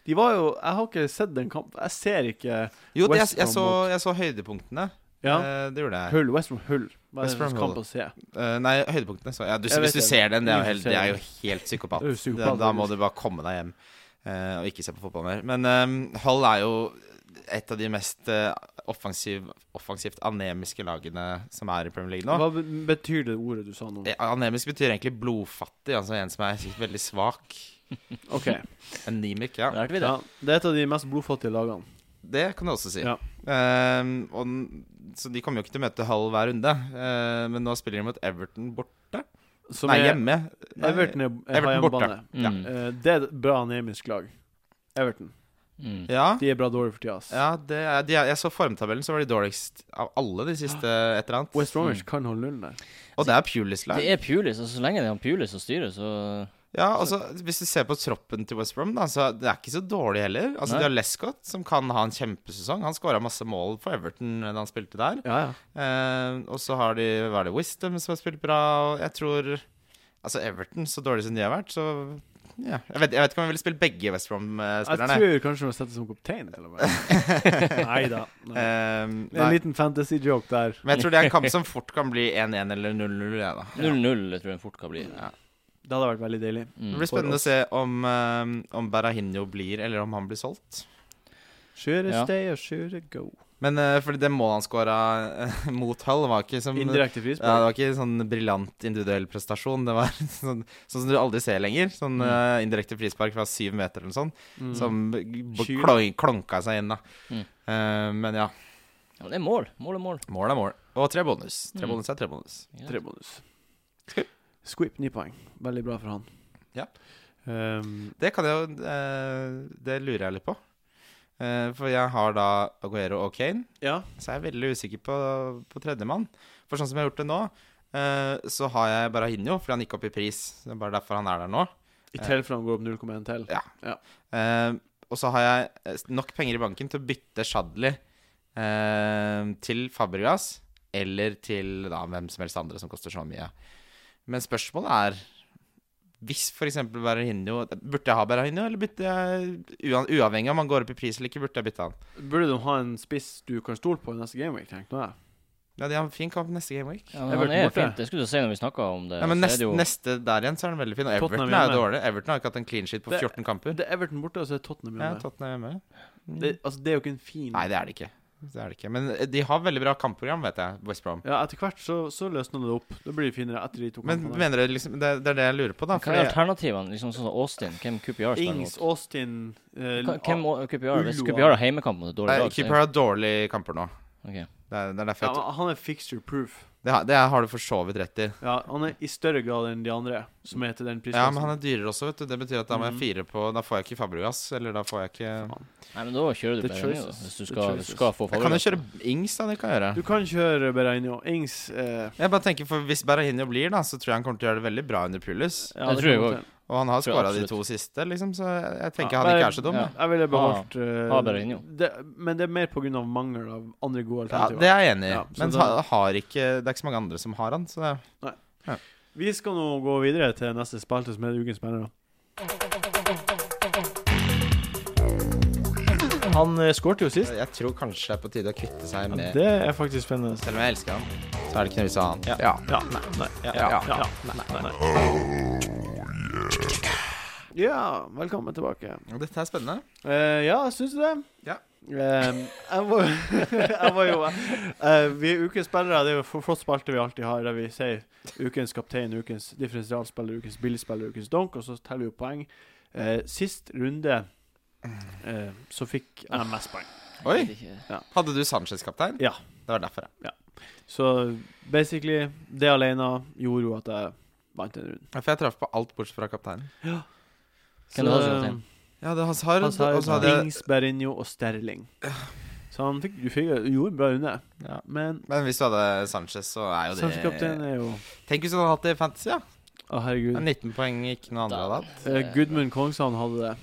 S1: De var jo Jeg har ikke sett den kampen. Jeg ser ikke
S3: Jo, det, jeg,
S1: West
S3: jeg, så,
S1: Brom
S3: jeg så høydepunktene.
S1: Ja.
S3: Eh, det gjorde jeg.
S1: Hull, West Brom Hull. Hva er det
S3: West
S1: som
S3: Brom
S1: kamp
S3: Hull.
S1: å se?
S3: Eh, nei, høydepunktene. Så, ja, du,
S1: Jeg
S3: hvis
S1: vet
S3: du
S1: det.
S3: ser den, det er jo helt,
S1: Du ser
S3: det er jo
S1: den.
S3: helt psykopat.
S1: Det er jo
S3: Da,
S1: psykopat,
S3: da må du
S1: faktisk.
S3: bare komme deg hjem eh, og ikke se på fotball mer. Men eh, Hull er jo et av de mest eh, offensiv, offensivt anemiske lagene som er i Premier League nå.
S1: Hva be- betyr det ordet du sa nå?
S3: Eh, Anemisk betyr egentlig blodfattig, altså en som er veldig svak.
S1: OK.
S3: Anemic, ja.
S4: Lærte vi det?
S1: Ja, det er et av de mest blodfattige lagene.
S3: Det kan du også si.
S1: Ja.
S3: Ehm, og, den- så de kommer jo ikke til å møte Hull hver runde, eh, men nå spiller de mot Everton bort.
S1: Som
S3: nei,
S1: er-
S3: hjemme. Nei,
S1: Everton er, er
S3: Everton
S1: på
S3: borte.
S1: hjemmebane.
S3: Ja.
S4: Mm.
S1: Eh, det er et bra anemisk lag. Everton.
S4: Mm.
S3: Ja.
S1: De er bra dårlige for tida. ass.
S3: Ja, det er, de er, jeg så formtabellen, så var de dårligst av alle de siste et eller annet.
S1: West Bromwich
S4: Mm.
S1: kan holde nullen der.
S3: Og det er Pulis lag.
S4: Det er Pulis. altså Så lenge det er han Pulis som styrer, så
S3: Ja, altså, hvis du ser på troppen til West Brom, da, så det er ikke så dårlig heller. Altså,
S4: Nei.
S3: De har Lescott, som kan ha en kjempesesong. Han skåra masse mål for Everton da han spilte der.
S1: Ja, ja.
S3: Eh, og så har de hva er det, Wisdom, som har spilt bra. Og jeg tror Altså, Everton, så dårlig som de har vært, så ja. jeg, vet, jeg vet ikke om jeg ville spilt begge West eh,
S1: Jeg
S3: Brom-spillerne.
S1: tror kanskje de må sette som kaptein. Neida. Nei da.
S3: Eh,
S1: En
S3: nei.
S1: liten fantasy-joke der.
S3: Men jeg tror det er en kamp som fort kan bli 1-1 eller 0-0. Ja, da.
S4: 0-0 tror jeg fort kan bli.
S3: Ja.
S1: Det hadde vært veldig deilig.
S4: Mm.
S3: Det blir
S1: For
S3: spennende å
S1: oss.
S3: se om, eh, om Berahino blir, eller om han blir solgt.
S1: Sure
S4: Ja.
S1: stay og sure go.
S3: Men uh, fordi det målet han skåra mot Hull, var ikke som ja,
S1: Indirekte
S3: det var
S1: frispark.
S3: ikke sånn briljant individuell prestasjon. Det var sånn, sånn som du aldri ser lenger. Sånn
S4: Mm.
S3: eh, indirekte frispark fra syv meter eller noe sånt,
S1: Mm.
S3: som b-
S1: Skyld.
S3: klon- klonka seg inn, da.
S4: Mm.
S3: Eh, men ja,
S4: Ja, men det er mål. Mål er mål.
S3: mål er mål. Og tre bonus. Tre
S4: Mm.
S3: bonus er tre bonus.
S4: Ja.
S1: Tre bonus. Squip, ni poeng. Veldig bra for han.
S3: Ja.
S1: Ehm,
S3: Det kan jeg jo eh, Det lurer jeg litt på. Eh, for jeg har da Aguero og Kane.
S1: ja.
S3: Så jeg er veldig usikker på, på tredjemann. For sånn som jeg har gjort det nå, eh, så har jeg Barahinho fordi han gikk opp i pris. Det er bare derfor han er der nå.
S1: I til for han går opp 0,1 til.
S3: Eh, og så har jeg eh, nok penger i banken til å bytte Shadley eh, til Fabregas eller til da, hvem som helst andre som koster så mye. Men spørsmålet er hvis f.eks. Barahinho Burde jeg ha Barahinho, eller bytte jeg uan- Uavhengig om han går opp i pris eller ikke, burde jeg bytte han?
S1: Burde de ha en spiss du kan stole på i neste gameweek, tenkte jeg.
S3: Ja, de har en fin kamp neste game week.
S4: Ja,
S1: Everton
S4: men han er
S1: borte.
S4: fint. Jeg skulle til å si når vi snakka om det.
S3: Ja, men
S4: så er
S3: neste,
S4: det jo,
S3: neste der igjen så er den veldig fin. Og
S1: Tottenham
S3: Everton er jo
S1: hjemme.
S3: dårlig. Everton har ikke hatt en clean sheet på
S1: Det-
S3: 14 kamper.
S1: Det er Everton borte, og så er Tottenham
S3: Ja,
S1: hjemme.
S3: Tottenham hjemme.
S1: det, altså, det er jo ikke en fin
S3: Nei, det er det ikke. Det er det ikke. Men eh, de har veldig bra kampprogram, vet jeg. West Brom.
S1: Ja, etter hvert så, så løsner det opp. Da blir det finere etter de to
S3: Men
S1: kampene.
S3: mener dere liksom det, det er det jeg lurer på, da.
S4: Hva
S3: Fordi,
S4: er alternativene? Liksom sånn som Austin? Hvem QPR spiller
S1: Ings,
S4: mot?
S1: Austin eh,
S4: Hva- Hvem å- QPR? Hvis
S1: Ulloa.
S4: QPR har heimekamp mot et dårlig
S3: nei,
S4: lag, så
S3: keeper har dårlige kamper nå.
S4: Ok.
S3: Det er, det er derfor
S1: ja,
S3: jeg tror-
S1: men Han er fixture proof.
S3: det, har- det har du for så vidt rett i.
S1: Ja, Han er i større grad enn de andre som er til den prisen.
S3: Ja, men han er dyrere også, vet du. Det betyr at da må jeg
S1: Mhm.
S3: fire på Da får jeg ikke Fabregas, eller da får jeg ikke
S4: Nei, men da kjører du
S1: The
S4: Berlin,
S1: choices.
S4: hvis du
S1: The
S4: skal, hvis
S1: choices.
S4: du skal få
S3: Jeg kan jo
S4: favoritt.
S3: kjøre Ings, da. Det kan jeg gjøre.
S1: Du kan kjøre Beregno. Ings eh,
S3: Jeg bare tenker, for Hvis Berahino blir, da, så tror jeg han kommer til å gjøre det veldig bra under Pulis.
S1: ja,
S4: Det tror jeg
S1: kan
S4: også.
S1: godt hende.
S3: Og han har
S4: Tror
S3: skåra de
S4: absolutt.
S3: to siste, liksom, så jeg jeg tenker
S1: Ja,
S3: han ikke
S1: bare-
S3: er så dum.
S4: ja.
S3: jeg.
S1: Jeg ville beholdt
S4: ha
S1: eh,
S4: Berahino.
S1: det, Men det er mer pga. mangel av andre gode
S3: Ja,
S1: alternativer.
S3: det er jeg enig i.
S1: Ja, så
S3: men
S1: da-
S3: ha- har ikke, det er ikke så mange andre som har han. Så det,
S1: Vi skal nå gå videre til neste spalte, som er Ukens spillere.
S2: Han eh, skårte jo sist.
S3: jeg tror kanskje det er på tide å kvitte seg
S2: Ja,
S3: med
S2: det er faktisk spennende.
S3: Selv om jeg elsker han, så er det ikke noe vits å ha han.
S2: Ja.
S1: Ja, nei, nei,
S3: Ja.
S1: ja, nei, nei, Ja, velkommen tilbake.
S3: Og Dette er spennende.
S1: Eh, ja, syns du det?
S3: Ja.
S1: Eh, jeg, var, jeg var jo eh, Vi er ukens spillere. Det er jo for- flott spalte vi alltid har, der vi sier ukens kaptein, ukens differensialspiller, ukens billigspiller, ukens donk, og så teller vi opp poeng. Eh, sist runde eh, så fikk jeg mest poeng.
S3: Oi!
S4: Jeg vet ikke.
S3: Hadde du Sanchez kaptein?
S1: Ja.
S3: Det var derfor, ja.
S1: Så basically, det alene gjorde jo at jeg vant den runden.
S3: Ja, For jeg traff på alt bortsett fra kapteinen.
S4: Hvem du hadde som kaptein?
S3: Ja, det er Hazard,
S1: Hazard,
S3: og så hadde jeg
S1: Ings, Berinho og Sterling. Så han fikk, du fikk, du gjorde en bra runde.
S3: Ja.
S1: Men
S3: Men hvis du hadde Sanchez, så er jo det
S1: Sansekapteinen er jo Å,
S3: Tenk hvis du hadde hatt det i Fantasy, ja.
S1: herregud.
S3: Det er 19 poeng ikke noe andre hadde hatt.
S1: Eh, Gudmund Kongsand hadde det.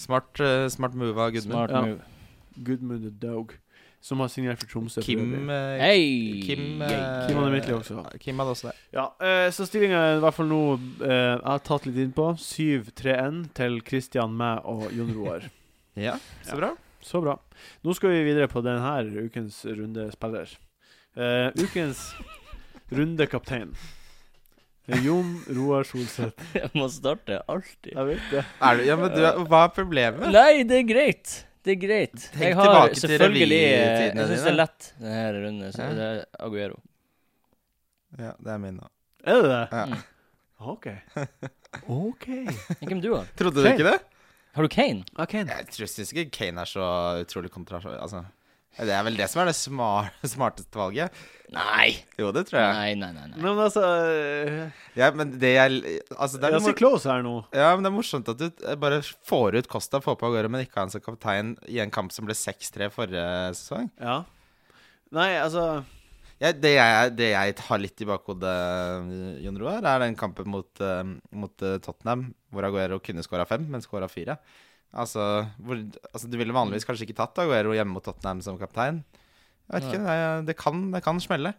S3: Smart, eh, smart move av Gudmund.
S4: Smart
S1: Ja.
S4: move.
S1: Gudmund the Dog. Som har signert for Tromsø. for
S3: Kim
S1: øvrig.
S3: eh,
S4: Hei!
S3: Kim, eh,
S1: Kim hadde mitt liv også.
S3: Kim hadde også det.
S1: Ja, eh, så stillinga er i hvert fall nå eh, Jeg har tatt litt inn på 7-3-1 til Christian, meg og Jon Roar. Ja.
S3: Ja, så bra.
S1: Så bra. Nå skal vi videre på denne ukens runde spiller. Eh, ukens rundekaptein. Eh, Jon Roar Solseth.
S4: Jeg må starte alltid.
S1: Jeg vet det.
S3: Er du, ja, men du, hva er problemet?
S4: Nei, det er greit. Det er greit.
S3: Tenk
S4: jeg har
S3: tilbake til
S4: selvfølgelig Jeg
S3: revytidene
S4: syns
S3: dine.
S4: det er lett denne runden. Så
S3: Ja.
S4: det er Aguero.
S3: Ja, det er min, da.
S1: Er det det?
S3: Ja.
S4: Mm.
S1: OK. OK.
S4: Men Hvem du har?
S3: Trodde du
S1: Kane.
S3: ikke det?
S4: Har du Kane?
S1: okay.
S3: Jeg tror- syns ikke Kane er så utrolig kontra... Altså, det er vel det som er det smar smarteste valget.
S4: Nei.
S3: Jo, det tror jeg.
S4: Nei, nei, nei. nei.
S1: Men altså eh,
S3: Ja, men det jeg Altså, det
S1: Jeg
S3: er
S1: er så
S3: mor
S1: close her nå.
S3: ja, men det er morsomt at du t- bare får ut Costa, får på av gårde, men ikke har han som kaptein i en kamp som ble 6-3 forrige sesong.
S1: Ja. Nei, altså
S3: Ja, det, jeg, det jeg har litt i bakhodet, Jon Roar, er den kampen mot, eh, mot eh, Tottenham, hvor Aguero kunne skåra fem, men skåra fire. Altså, hvor, altså, du ville vanligvis kanskje ikke tatt Aguero hjemme mot Tottenham som kaptein. Jeg vet ikke, det, er- det, kan, det kan smelle.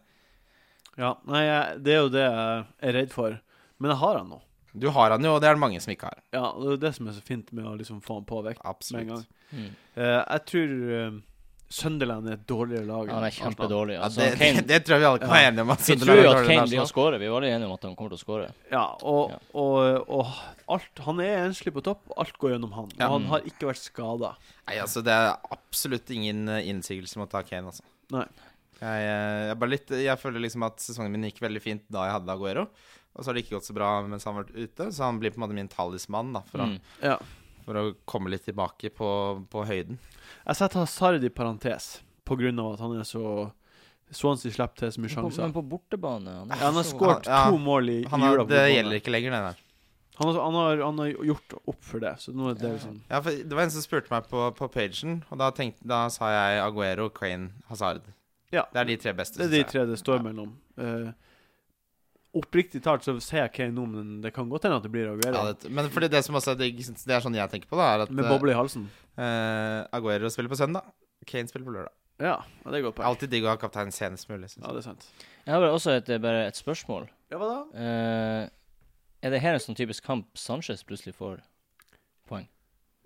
S1: Ja, nei, jeg, det er jo det jeg er redd for. Men jeg har han nå.
S3: Du har han jo, og det er det mange som ikke har.
S1: Ja, og Det er jo det som er så fint med å liksom få han på vekt med en gang.
S3: Absolutt.
S4: Mm.
S1: Eh, jeg tror eh, Sunderland er et dårligere lag. enn
S4: Han er
S1: Arsenal.
S4: kjempedårlig.
S3: Ja,
S4: Altså,
S3: det, det,
S4: Kane,
S3: det tror jeg vi alle kan være enige om. at
S4: vi
S3: Sunderland
S4: tror jo
S3: er
S4: at
S3: dårligere
S4: Kane
S3: enn
S4: blir å
S3: Arsenal.
S4: skåre. Vi var alle enige om at han kommer til å skåre.
S1: Ja, og,
S4: Ja.
S1: og, og alt Han er enslig på topp, og alt går gjennom han.
S3: Ja.
S1: Og han har ikke vært skada.
S3: Nei, altså, det er absolutt ingen eh, innsigelse mot å ta Kane, altså.
S1: Nei.
S3: Jeg, eh, jeg, bare litt, jeg føler liksom at sesongen min gikk veldig fint da jeg hadde Aguero. Og så har det ikke gått så bra mens han har vært ute, så han blir på en måte min talisman da, for,
S4: Mm.
S1: Ja.
S3: å, for å komme litt tilbake på, på høyden.
S1: Jeg setter Hazard i parentes på grunn av at han er så Swansea slipper til så mye
S4: Men på- Men
S1: sjanser.
S4: på bortebane han, er
S1: Ja, han har
S4: så-
S1: skåret
S3: Han- ja.
S1: to mål i, i
S3: Han har,
S1: jula. på
S3: det
S1: bortebane.
S3: gjelder ikke lenger, det der.
S1: Han, har, han, har, han har gjort opp for det, så nå er det
S4: Ja.
S1: liksom
S3: Ja, for det var en som spurte meg på, på pagen, og da, tenkte, da sa jeg Aguero, Crane, Hazard.
S1: Ja.
S3: Det er de tre beste.
S1: Det er
S3: synes
S1: de
S3: jeg.
S1: tre det står
S3: Ja.
S1: mellom. Eh, oppriktig talt så ser jeg Kane nå, men det kan godt hende at det blir Aguero.
S3: Ja, det, men fordi det som også er digg, det er sånn jeg tenker på, da, er at
S1: med boble i halsen.
S3: eh, Aguero spiller på søndag, Kane spiller på lørdag.
S1: Ja, ja det er godt
S3: Det er
S1: poeng.
S3: alltid digg å ha kaptein senest mulig. synes
S1: Ja,
S3: jeg.
S1: det er sant.
S4: Jeg har bare også et, bare et spørsmål.
S1: Ja, hva da?
S4: Eh, er det her en sånn typisk kamp Sanchez plutselig får?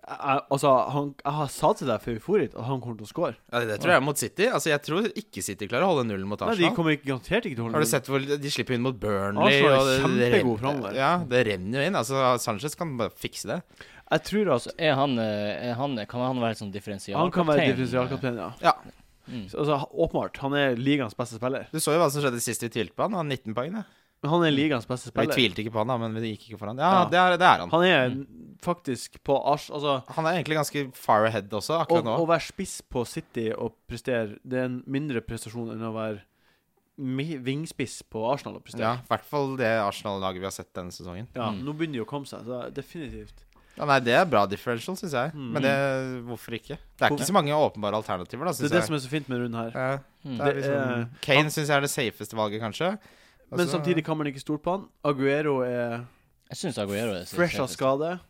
S1: jeg, altså, han, jeg har sa til deg før vi for hit, at han kommer til å score.
S3: Ja, det tror jeg er mot City. Altså, jeg tror ikke City klarer å holde nullen mot
S1: Nei, de
S3: Arsenal.
S1: kommer ikke, garantert ikke til å holde
S3: Har du
S1: nullen.
S3: sett hvor de slipper inn mot Burnley?
S1: Arsenal er
S3: og det- det
S1: kjempegod
S3: renner-
S1: framover.
S3: Ja, det renner jo inn. Altså, Sanchez kan bare fikse det.
S1: Jeg tror at
S4: Så er han, eh, er han Kan han være sånn differensialkaptein?
S1: han kan være differensialkaptein, ja.
S3: Ja,
S4: Mm.
S1: Så, Altså, åpenbart. Han er ligaens beste spiller.
S3: Du så jo hva som skjedde sist vi tvilte på han. Han hadde 19 poeng. da.
S1: Men han er ligaens beste
S3: Vi
S1: spiller.
S3: tvilte ikke på han, da, men vi gikk ikke for han. Ja,
S1: Ja.
S3: Det, er, det er han.
S1: Han er faktisk på ars... Altså
S3: Han er egentlig ganske far ahead også,
S1: å,
S3: akkurat nå.
S1: å være spiss på City og prestere, det er en mindre prestasjon enn å være mi- vingspiss på Arsenal og
S3: Ja,
S1: prestere.
S3: I hvert fall det Arsenal-laget vi har sett denne sesongen.
S1: Ja,
S4: Mm.
S1: Nå begynner de å komme seg, så definitivt.
S3: Ja, nei, Det er bra differential, syns jeg.
S1: Mm.
S3: Men det, hvorfor ikke? Det er ikke så mange åpenbare alternativer, da,
S1: Det
S3: syns
S1: er det
S3: jeg.
S1: som er så fint med runden her.
S3: Ja,
S4: Mm.
S3: det er
S1: Det
S3: liksom,
S1: er-
S3: Kane syns jeg er det safeste valget, kanskje. Og
S1: Men
S3: så-
S1: samtidig kan man ikke stole på han. Aguero er
S4: Jeg syns Aguero er
S1: fresh av skade.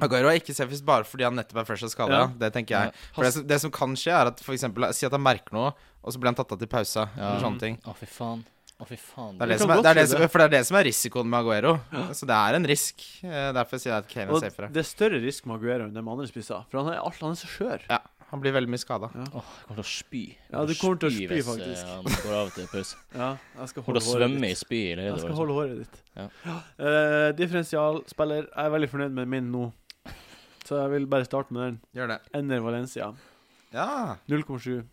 S3: Aguero er ikke safest bare fordi han nettopp er fresh og skada.
S1: Ja.
S3: Det tenker jeg. For det, som- det som kan skje, er at for eksempel, si at han merker noe, og så blir han tatt av til pause. Eller sånne ting.
S4: Å, fy faen. Å, fy faen.
S3: Det er
S1: Det
S3: det som
S1: kan
S3: er, det
S1: godt
S3: er det som,
S1: skje det.
S3: for det er det som er risikoen med Aguero. Så det er en risk. Eh, Derfor sier jeg at Kane er
S1: Og
S3: safere.
S1: det er større risk med Aguero enn de andre spissene, for han er, alt, han er så skjør.
S3: Ja, han blir veldig mye skada.
S4: Åh, jeg kommer til å spy. Jeg
S1: Ja, du kommer til å spy,
S4: hvis, eh,
S1: faktisk.
S4: han går av til pause.
S1: Ja, jeg skal
S4: Kommer
S1: holde
S4: til å
S1: håret
S4: svømme i
S1: ditt.
S4: spy i
S1: Jeg
S4: løyda.
S1: skal
S4: liksom.
S1: holde håret ditt.
S4: Ja.
S1: Eh, differensialspiller. Jeg er veldig fornøyd med min nå, så jeg vil bare starte med den.
S3: Gjør det.
S1: Ender Valencia.
S3: Ja,
S1: 0,7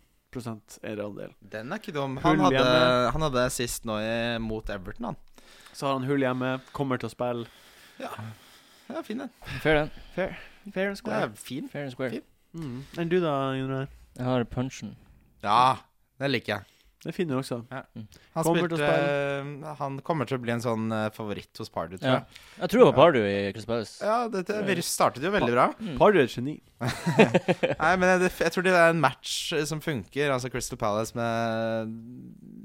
S1: eierandel.
S3: den er ikke dum.
S1: Hull
S3: Han hadde,
S1: hjemme.
S3: han hadde sist nå i, mot Everton, han.
S1: Så har han hull hjemme, kommer til å spille.
S3: Ja, fin den.
S4: Fair den.
S1: Fair and
S3: Det er fin.
S4: Fair and square.
S3: Fint.
S1: Mm. Enn du da, Jon Roar?
S4: Jeg har punchen.
S3: Ja, den liker jeg.
S1: Det finner du også.
S3: Han,
S1: Kommer til å
S3: spilte, eh, han kommer til å bli en sånn eh, favoritt hos Pardew, tror
S4: Ja.
S3: jeg. Eh,
S4: Jeg tror det var Pardew i Crystal Palace.
S3: Ja, dette vi startet jo veldig bra.
S4: Mm.
S1: Pardew er et geni.
S3: Nei, men jeg, jeg tror det er en match eh, som funker. Altså Crystal Palace med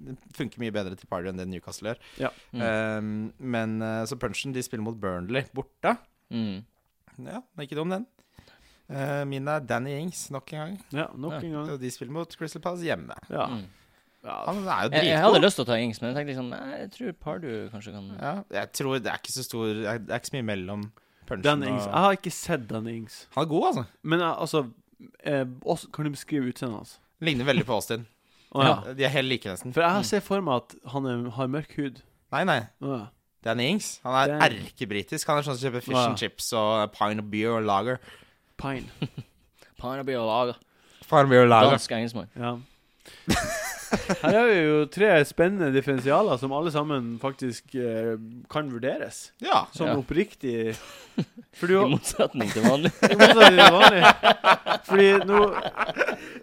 S3: det funker mye bedre til Pardew enn det Newcastle gjør.
S1: Ja.
S4: Mm.
S3: Ehm, men eh, så punchen de spiller mot Burnley borte.
S4: Mm.
S3: Ja, det er ikke dum, den. Eh, min er Danny Ings nok en gang.
S1: Ja, nok
S4: Ja.
S1: en gang.
S3: Og de spiller mot Crystal Palace hjemme.
S1: Ja.
S4: Mm.
S1: ja.
S3: Han er jo
S4: Jeg, jeg hadde
S3: dritgod.
S4: lyst til å ta Ings, men jeg tenkte liksom nei, Jeg tror Pardew kanskje kan
S3: Ja, jeg tror det er ikke så stor Det er det er ikke så mye mellom punchen
S1: Dan Ings. Jeg
S3: og
S1: har ikke sett Dan Ings.
S3: Han er god, altså.
S1: Men jeg, altså eh, også, Kan du beskrive utseendet hans?
S3: Ligner veldig på Austin.
S1: Å, ja.
S3: De er helt like, nesten.
S1: For jeg ser for meg at han er, har mørk hud.
S3: Nei, nei.
S1: Å, ja.
S3: Danny Ings. Han er
S1: Dan-
S3: erkebritisk. Han er sånn som kjøper fish
S1: Ja.
S3: and chips og pine of beer og lager.
S1: Pine.
S4: Pardew og Laga.
S3: Pine beer og
S4: Dansk engelskmann.
S1: Ja. Her har vi jo tre spennende differensialer som alle sammen faktisk eh, kan vurderes.
S3: Ja.
S1: Sånn
S4: Ja.
S1: oppriktig For
S4: I
S1: du
S4: motsetning til vanlig.
S1: I motsetning til vanlig. Fordi nå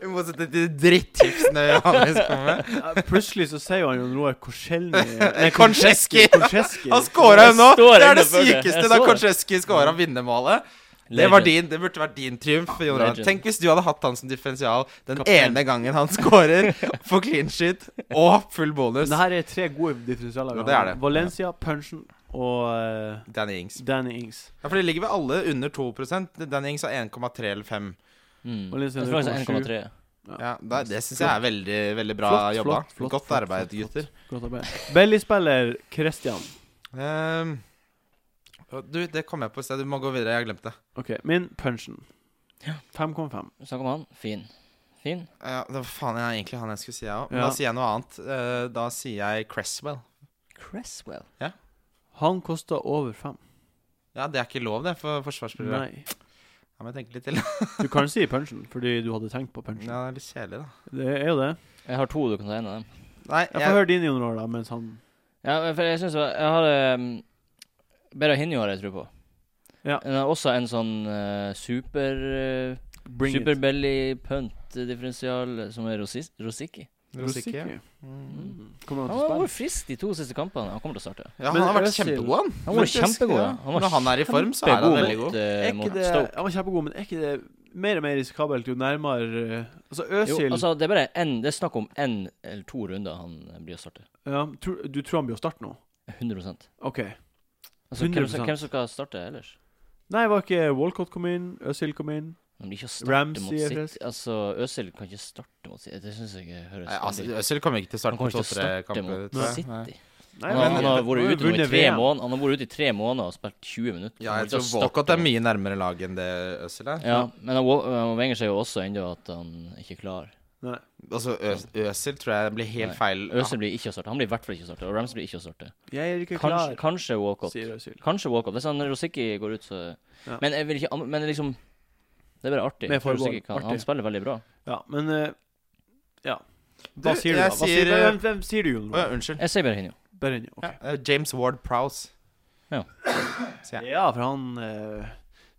S3: I motsetning til drittipsene Johannes kom med.
S1: eh, Plutselig så sier jo han Jon Roar Korselny
S3: Konchesky.
S1: Korseski.
S3: Han scora jo nå!
S4: Jeg står
S3: Det er
S4: inne
S3: det
S4: for det.
S3: sykeste
S4: Jeg
S3: da
S4: så det.
S3: Konchesky scora vinnermålet. Det, var
S4: Legend.
S3: din, det burde vært din triumf. Jon Roar.
S4: Legend.
S3: Tenk hvis du hadde hatt han som differensial den
S1: Kaptein.
S3: ene gangen han scorer, får clean sheet og full bonus.
S1: Det her er tre gode differensialer. vi
S3: Ja, det er
S1: har.
S3: det.
S1: Valencia, Punchen og eh,
S3: Danny Ings.
S1: Danny Ings.
S3: Ja, For de ligger vel alle under 2 Danny Ings har 1,3 eller 5.
S4: Mm.
S1: Og Lindsay
S4: Jeg tror faktisk
S1: 0,7.
S4: 1,3.
S3: Ja, Det, det syns jeg er veldig veldig bra
S1: Flott,
S3: jobba.
S1: flott, flott,
S3: Godt
S1: flott,
S3: arbeid,
S1: flott, flott.
S3: gutter.
S1: Godt arbeid. Belly-spiller Christian.
S3: Ehm, du, det kom jeg på i sted. Du må gå videre. Jeg har glemt det.
S1: OK, min Punchen.
S4: Ja.
S1: 5,5.
S4: Snakk om han. Fin. Fin.
S3: Ja, det var faen jeg egentlig han jeg skulle si, jeg òg. Men
S1: Ja.
S3: da sier jeg noe annet. Eh, da sier jeg Cresswell.
S4: Cresswell.
S1: Han koster over 5.
S3: Ja, det er ikke lov, det, for forsvarsspillere.
S1: Nei.
S3: Ja, men jeg tenker litt til.
S1: Du kan si Punchen, fordi du hadde tenkt på Punchen.
S3: Ja, det er litt kjedelig, da.
S1: Det er jo det.
S4: Jeg har to du kan ta en av dem.
S3: Nei,
S1: Jeg får
S3: jeg,
S1: høre din, Jon Roar, da, mens han
S4: Ja, men for jeg syns Jeg har um, Berahinho har jeg tro på.
S1: Ja.
S4: Den har også en sånn eh, super eh,
S1: Bring it.
S4: Superbelly punt-differensial som er Rosis Rosicky.
S3: Rosicky, ja.
S1: Rosicky.
S3: Mm.
S1: Mm. Kommer han til
S4: Han
S1: å
S4: har
S1: spille?
S4: vært frisk de to siste kampene. Han kommer til å starte.
S3: ja,
S1: Men
S3: han har vært
S1: Özil-
S3: kjempegod, han.
S4: Han var
S3: Faktisk, ja.
S4: kjempegod, ja. Han var
S3: Når han er i form, så er han
S4: Kjempegod
S3: veldig
S4: mot,
S3: god.
S4: eh,
S1: Er ikke
S4: mot
S1: det,
S4: Stoke.
S1: han var kjempegod, men er ikke det mer og mer risikabelt jo nærmere eh, Altså,
S4: Jo,
S1: Øsil
S4: altså, det er bare en, det er snakk om én eller to runder han eh, blir å starte.
S1: ja, tror, Du tror han blir å starte nå?
S4: 100 altså,
S1: OK.
S4: Hvem, som-
S1: 100%.
S4: hvem som skal starte ellers?
S1: Nei, var ikke Walcott kom inn? Øsil kom inn?
S4: Han blir ikke å starte mot
S1: Ramsey er
S4: sitt
S1: frisk.
S4: Altså, Øzil kan ikke starte mot sitt Det syns jeg høres
S3: Nei, altså,
S4: veldig-
S3: Øzil kommer ikke til å starte på
S4: Han kommer ikke til å
S3: to-tre
S4: starte
S3: kamper.
S4: mot
S3: tror jeg.
S4: City.
S3: Nei.
S1: Nei,
S4: Han har,
S3: men-
S4: han har vært ute nå i
S1: vunnet
S4: tre
S1: VM.
S4: måneder Han har vært ute i tre måneder og spilt 20 minutter.
S3: Ja,
S4: Han
S3: jeg tror
S4: har ikke startet.
S3: Walcott er mye nærmere laget enn det Øzil er.
S4: Ja, Men han Wa- han Wenger sier jo også ennå at han ikke er klar.
S1: Nei.
S3: Altså, Ø- Øzil tror jeg blir helt
S4: Nei.
S3: feil.
S4: Øzil blir ikke å starte. Han blir i hvert fall ikke å starte. Og Rams blir ikke å starte.
S1: Jeg er ikke klar,
S4: Kanskje, kanskje Walcott.
S1: sier Øzil.
S4: Kanskje Walcott. Hvis han Rosicki går ut, så
S1: Ja.
S4: Men jeg vil ikke an- Men liksom Det er bare artig.
S1: Med
S4: For
S1: forbehold.
S4: Rosicky kan, han
S1: Artig.
S4: spiller veldig bra.
S1: Ja, men eh, Ja. Hva
S3: Du,
S1: sier du, da?
S3: jeg
S1: Hva
S3: sier,
S1: sier,
S3: eh,
S1: hvem, hvem sier du, Jon?
S3: Å, ja, unnskyld.
S4: Jeg sier Berhinho.
S1: Berenio. ok.
S3: Ja, eh, James Ward Prowse. Ja.
S1: Ja, for han uh,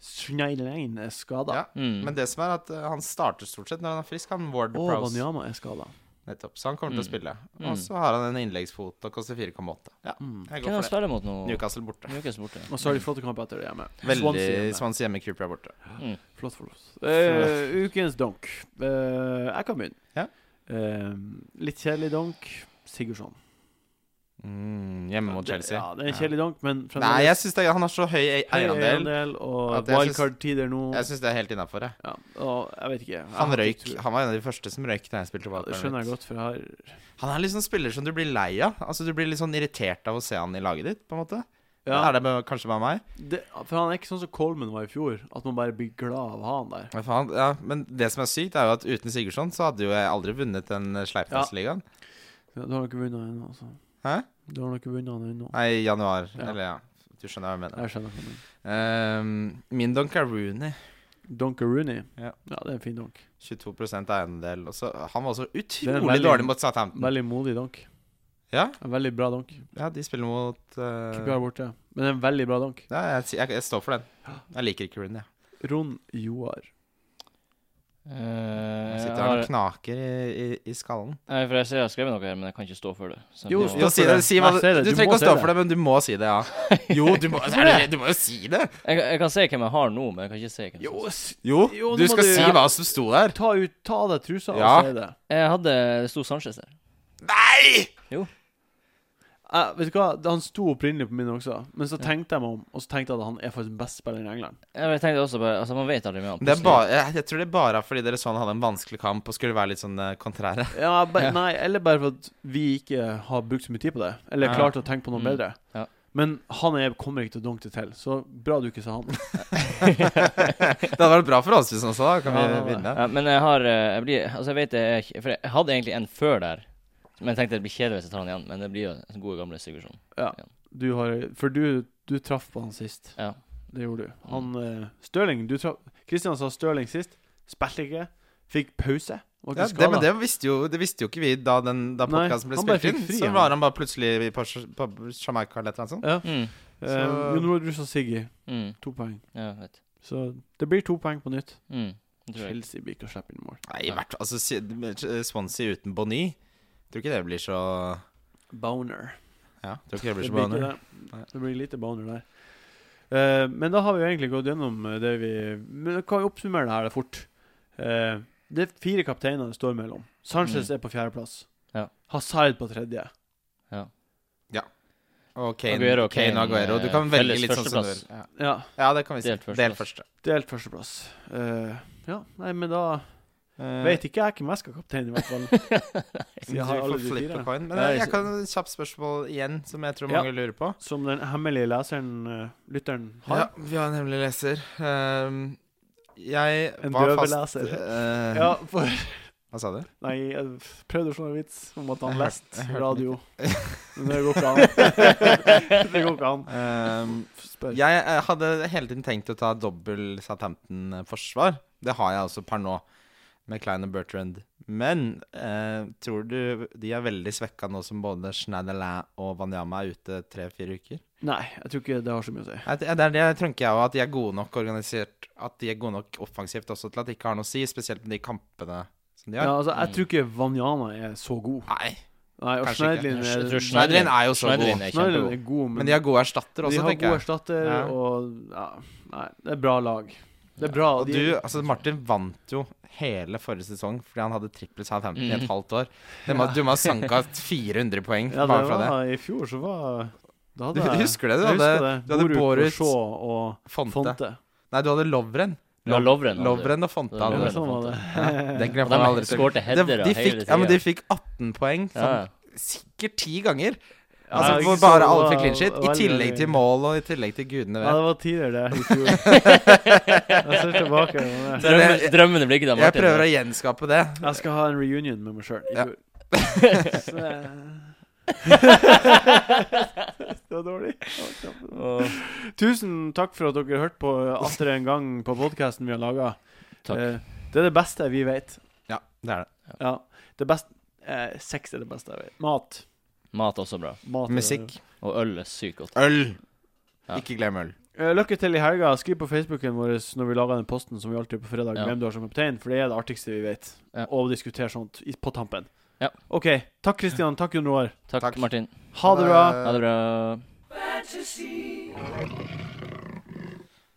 S1: Schneiderlein er skada.
S3: Ja.
S4: Mm.
S3: Men det som er at eh, han starter stort sett når han er frisk, han Ward
S1: Og
S3: Prowse.
S1: Wanyama er skada.
S3: Nettopp. Så han kommer til å
S4: Mm.
S3: spille.
S4: Mm.
S3: Og så har han en innleggsfot og koster 4,8. Ja,
S1: Mm.
S3: jeg
S4: Hvem er
S3: går
S4: han
S3: for det.
S4: spiller mot nå?
S3: Newcastle borte.
S4: Newcastle borte.
S1: Og så har de flotte kamper etter det hjemme.
S3: Veldig
S1: Swansea hjemme.
S3: Svans hjemmecreeper er borte.
S4: Mm.
S1: Flott, flott. Eh, ukens donk. Eh, jeg kan begynne.
S3: Ja.
S1: Eh, litt kjedelig donk. Sigurdsson.
S3: Mm, hjemme mot
S1: Det-
S3: Chelsea.
S1: Ja, det er en kjedelig donk, men
S3: Ja. Nei, jeg syns han har så høy ei-
S1: Høy
S3: eierandel.
S1: eierandel og
S3: At jeg syns-
S1: wildcard-tider nå.
S3: Jeg syns det er helt innafor.
S1: Ja, og jeg vet ikke. Jeg
S3: Han
S1: har ikke
S3: røyk.
S1: tro.
S3: Han var en av de første som røyk da jeg spilte
S1: Ja, det
S3: wildcard.
S1: skjønner jeg godt, for jeg har
S3: Han er litt sånn spiller som du blir lei av. Altså Du blir litt sånn irritert av å se han i laget ditt, på en måte.
S1: ja,
S3: Er det bare- kanskje bare meg?
S1: det, For han er ikke sånn som Coleman var i fjor, at man bare blir glad av å ha han der.
S3: Ja, faen, ja. Men det som er sykt, er jo at uten Sigurdsson så hadde jo jeg aldri vunnet den eh, Sleipnes-ligaen.
S1: Ja, du har nok ikke vunnet han ennå, altså.
S3: Hæ?
S1: Du har nok ikke vunnet han ennå.
S3: Nei, i januar.
S1: Ja.
S3: Eller ja, du skjønner hva jeg mener.
S1: Jeg skjønner ikke.
S3: Um, min donk er Rooney.
S1: Donk Rooney.
S3: Ja.
S1: Ja, det er en fin donk.
S3: 22 eiendel. Og så, han var også
S1: er
S3: utrolig
S1: veldig-
S3: dårlig mot Southampton.
S1: Veldig modig donk.
S3: Ja,
S1: En Veldig bra donk.
S3: ja, de spiller mot eh,
S1: Ikke klar borte, men en veldig bra donk.
S3: ja, jeg, jeg, jeg står for den. Jeg liker ikke Rooney. jeg.
S1: Ron Joar.
S4: Eh,
S3: Jeg
S4: jeg,
S3: sitter her
S4: har,
S3: og knaker i, i, i skallen.
S4: nei, for jeg ser jeg har skrevet noe her, men jeg kan ikke stå for det. Så
S1: Jo,
S4: det var-
S1: stå-
S3: Jo, si
S1: for
S3: det,
S1: det.
S3: si hva,
S1: Nei,
S3: du
S1: si det, du
S3: trenger
S1: må
S3: ikke å
S1: si
S3: stå
S1: det.
S3: for det, men du må si det, ja. Jo, du må, er det, du må jo si det!
S4: jeg, jeg kan se hvem jeg har nå, men jeg kan ikke se hvem som
S3: Jo,
S1: Jo, nå
S3: du
S1: må
S3: skal
S1: du-
S3: si hva som sto der.
S1: Ta, ut, ta av deg trusa
S3: Ja.
S1: og si det.
S4: Jeg hadde Det sto Sanchez der.
S3: Nei!
S1: Jeg- Eh, vet du hva, Han sto opprinnelig på min også, men så tenkte jeg meg om, og så tenkte jeg at han er faktisk den beste spilleren i England.
S4: Jeg tenkte også bare Altså, man vet aldri med han.
S3: Det er
S4: plutselig.
S3: bare, jeg, jeg tror det er bare fordi dere så han hadde en vanskelig kamp og skulle være litt sånn eh, kontrære.
S1: Ja, ba, Nei, eller bare for at vi ikke har brukt så mye tid på det. Eller
S3: Ja.
S1: klart å tenke på noe
S4: Mm.
S1: bedre.
S4: Ja.
S1: Men han er, kommer ikke til å dunke det til, så bra du ikke sa han.
S3: Det hadde vært bra for oss hvis han sa det. Kan
S1: Ja,
S3: vi
S1: det var det.
S3: vinne?
S4: Ja, men jeg har eh, Jeg blir Altså, jeg vet det er ikke- For jeg hadde egentlig en før der, men jeg tenkte det blir kjedelig hvis jeg tar han igjen. Men det blir jo den gode, gamle Sigurdsson.
S1: Du har, for du, du traff på han sist.
S4: Ja.
S1: Det gjorde du. Han eh, Stirling du traff Kristian sa Stirling sist. Spilte ikke. Fikk pause. Var
S3: Ja,
S1: ikke
S3: det,
S1: skadet.
S3: men det visste, jo, det visste jo ikke vi da, den- da
S1: Nei,
S3: podkasten ble
S1: han bare
S3: spilt inn.
S1: fikk fri,
S3: så
S1: han.
S3: var han bare plutselig på, Sj- på Jamaica eller et eller annet sånt.
S4: Mm.
S1: Eh,
S3: så-
S1: Jon Roar Druss og Siggy,
S4: Mm.
S1: to poeng.
S4: Ja, jeg vet.
S1: Så det blir to poeng på nytt.
S4: Mm. det Tror jeg.
S1: Chelsea blir ikke å slippe inn mål.
S3: Nei, i hvert fall altså, si- Swansea uten Bonny. Tror ikke det blir så
S1: Boner.
S3: Ja, tror ikke det blir
S1: Det
S3: så
S1: blir,
S3: banende.
S1: ikke
S3: Nei.
S1: det. det blir lite boner der. Eh, men da har vi jo egentlig gått gjennom eh, det vi Men da kan vi oppsummere det her da fort. Eh, det er fire kapteiner det står mellom. Sanchez
S4: Mm.
S1: er på fjerdeplass.
S4: Ja.
S1: Hazard på tredje.
S3: Og Kane,
S4: Aguero
S3: Kane,
S4: og Kane,
S3: og Aguero. Du kan
S4: eh,
S3: velge
S4: felles
S3: litt sånn som du vil.
S4: førsteplass.
S3: Ja.
S1: Ja,
S3: ja, det kan vi si.
S4: Delt førsteplass.
S3: Delt første.
S1: delt førsteplass. Eh, ja, nei, men da
S3: Eh,
S1: Vet ikke jeg hvem jeg skal kaptein, i hvert fall. Så jeg har
S3: du
S1: alle
S3: får
S1: de
S3: flippe
S1: fire.
S3: coin. Men
S1: Nei,
S3: jeg, jeg
S1: så-
S3: kan et kjapt spørsmål igjen, som jeg tror
S1: Ja.
S3: mange lurer på.
S1: Som den hemmelige leseren, eh, lytteren, har.
S3: Ja, vi har nemlig leser. Um, jeg
S1: En
S3: var
S1: døve
S3: fast
S1: leser.
S3: eh,
S1: Ja, for
S3: Hva sa du?
S1: Nei, jeg prøvde å slå en vits om at han leste radio. Men det går ikke an. det går ikke an.
S4: Ehm,
S3: Um,
S1: Spør.
S3: Jeg eh, hadde hele tiden tenkt å ta dobbel Southampton-forsvar. Det har jeg altså per nå, med Klein og Bertrand. Men eh, tror du de er veldig svekka nå som både Schneiderlin og Wanyama er ute tre-fire uker?
S1: Nei, jeg tror ikke det har så mye å si.
S3: Nei, Det det er det jeg tenker jeg òg, at de er gode nok organisert At de er gode nok offensivt også til at det ikke har noe å si, spesielt med de kampene som de
S1: Ja,
S3: har.
S1: altså, Jeg
S4: Mm.
S1: tror ikke Vanjana er så god.
S3: Nei,
S1: Nei, og
S3: Kanskje
S1: Schneidlin
S4: ikke. Jeg
S1: er,
S4: tror Schneid-
S3: Schneiderlin er jo så
S4: Schneiderlin
S3: god.
S4: er
S1: Schneidlin
S4: kjempegod.
S1: er god, men
S3: Men de har gode erstatter
S1: de
S3: også,
S1: har
S3: tenker
S1: god
S3: jeg.
S1: erstatter
S3: Ja.
S1: og ja, Nei, det er bra lag. Det er bra.
S3: Og
S1: de-
S3: du, altså Martin vant jo hele forrige sesong fordi han hadde trippel Southampton
S1: Mm.
S3: i et
S4: Mhm.
S3: halvt år. Det må, du må ha sanka 400 poeng
S1: ja, det
S3: bare fra det.
S1: var, I fjor så var Da
S3: Du
S1: hadde jeg
S3: husker det? Du
S1: jeg
S3: hadde,
S1: husker det.
S3: du hadde
S1: Borup og
S3: Boruc,
S1: Shaw og
S3: Fonte.
S1: Fonte.
S3: Nei, du hadde Lovren.
S4: Ja, Lovren hadde du.
S3: Lovren og Fonte.
S4: Ja,
S1: Ja,
S3: Hadde.
S1: men
S3: du.
S4: Lovren.
S1: sånn var det.
S3: Ja, den
S4: Og
S3: glemmer jeg
S4: de
S3: aldri. til.
S4: skårte
S3: De,
S4: headere
S3: de,
S4: hele
S3: fikk,
S4: tida.
S3: ja, men de fikk 18 poeng.
S4: ja.
S3: Sånn, sikkert ti ganger. Altså,
S1: ikke
S3: hvor
S1: så-
S3: bare alle fikk clean sheet. I
S1: veldig-
S3: tillegg til mål og i tillegg til gudene
S1: Ja,
S3: vet.
S1: det var tider, det. I fjor. jeg ser tilbake på det.
S4: Drømmen, drømmene blir ikke der,
S3: Jeg
S4: Martin.
S3: prøver å gjenskape det.
S1: Jeg skal ha en reunion med meg sjøl i
S3: Ja.
S1: fjor. Så eh, Det var dårlig. Det var knapt.
S4: Åh,
S1: Tusen takk for at dere hørte på atter en gang på podkasten vi har laga.
S4: Takk.
S1: Det er det beste vi vet.
S3: Ja, det er det.
S1: Ja. Det best, eh, sex er det beste jeg vet. Mat.
S4: Mat også bra.
S1: Mat er
S3: Musikk.
S4: Og øl er sykt godt.
S3: Øl.
S4: Ja.
S3: Ikke glem øl.
S1: det. Eh, Lykke til i helga. Skriv på Facebooken vår når vi lager den posten som vi alltid gjør på fredag,
S4: Ja.
S1: hvem du har som kaptein, for det er det artigste vi vet.
S4: Ja.
S1: Å diskutere sånt i- på tampen.
S4: Ja.
S1: OK. Takk, Kristian. Takk, Jon Roar.
S4: Takk,
S3: Takk.
S4: Martin.
S1: Ha det bra.
S4: Ha det bra.
S5: fantasy.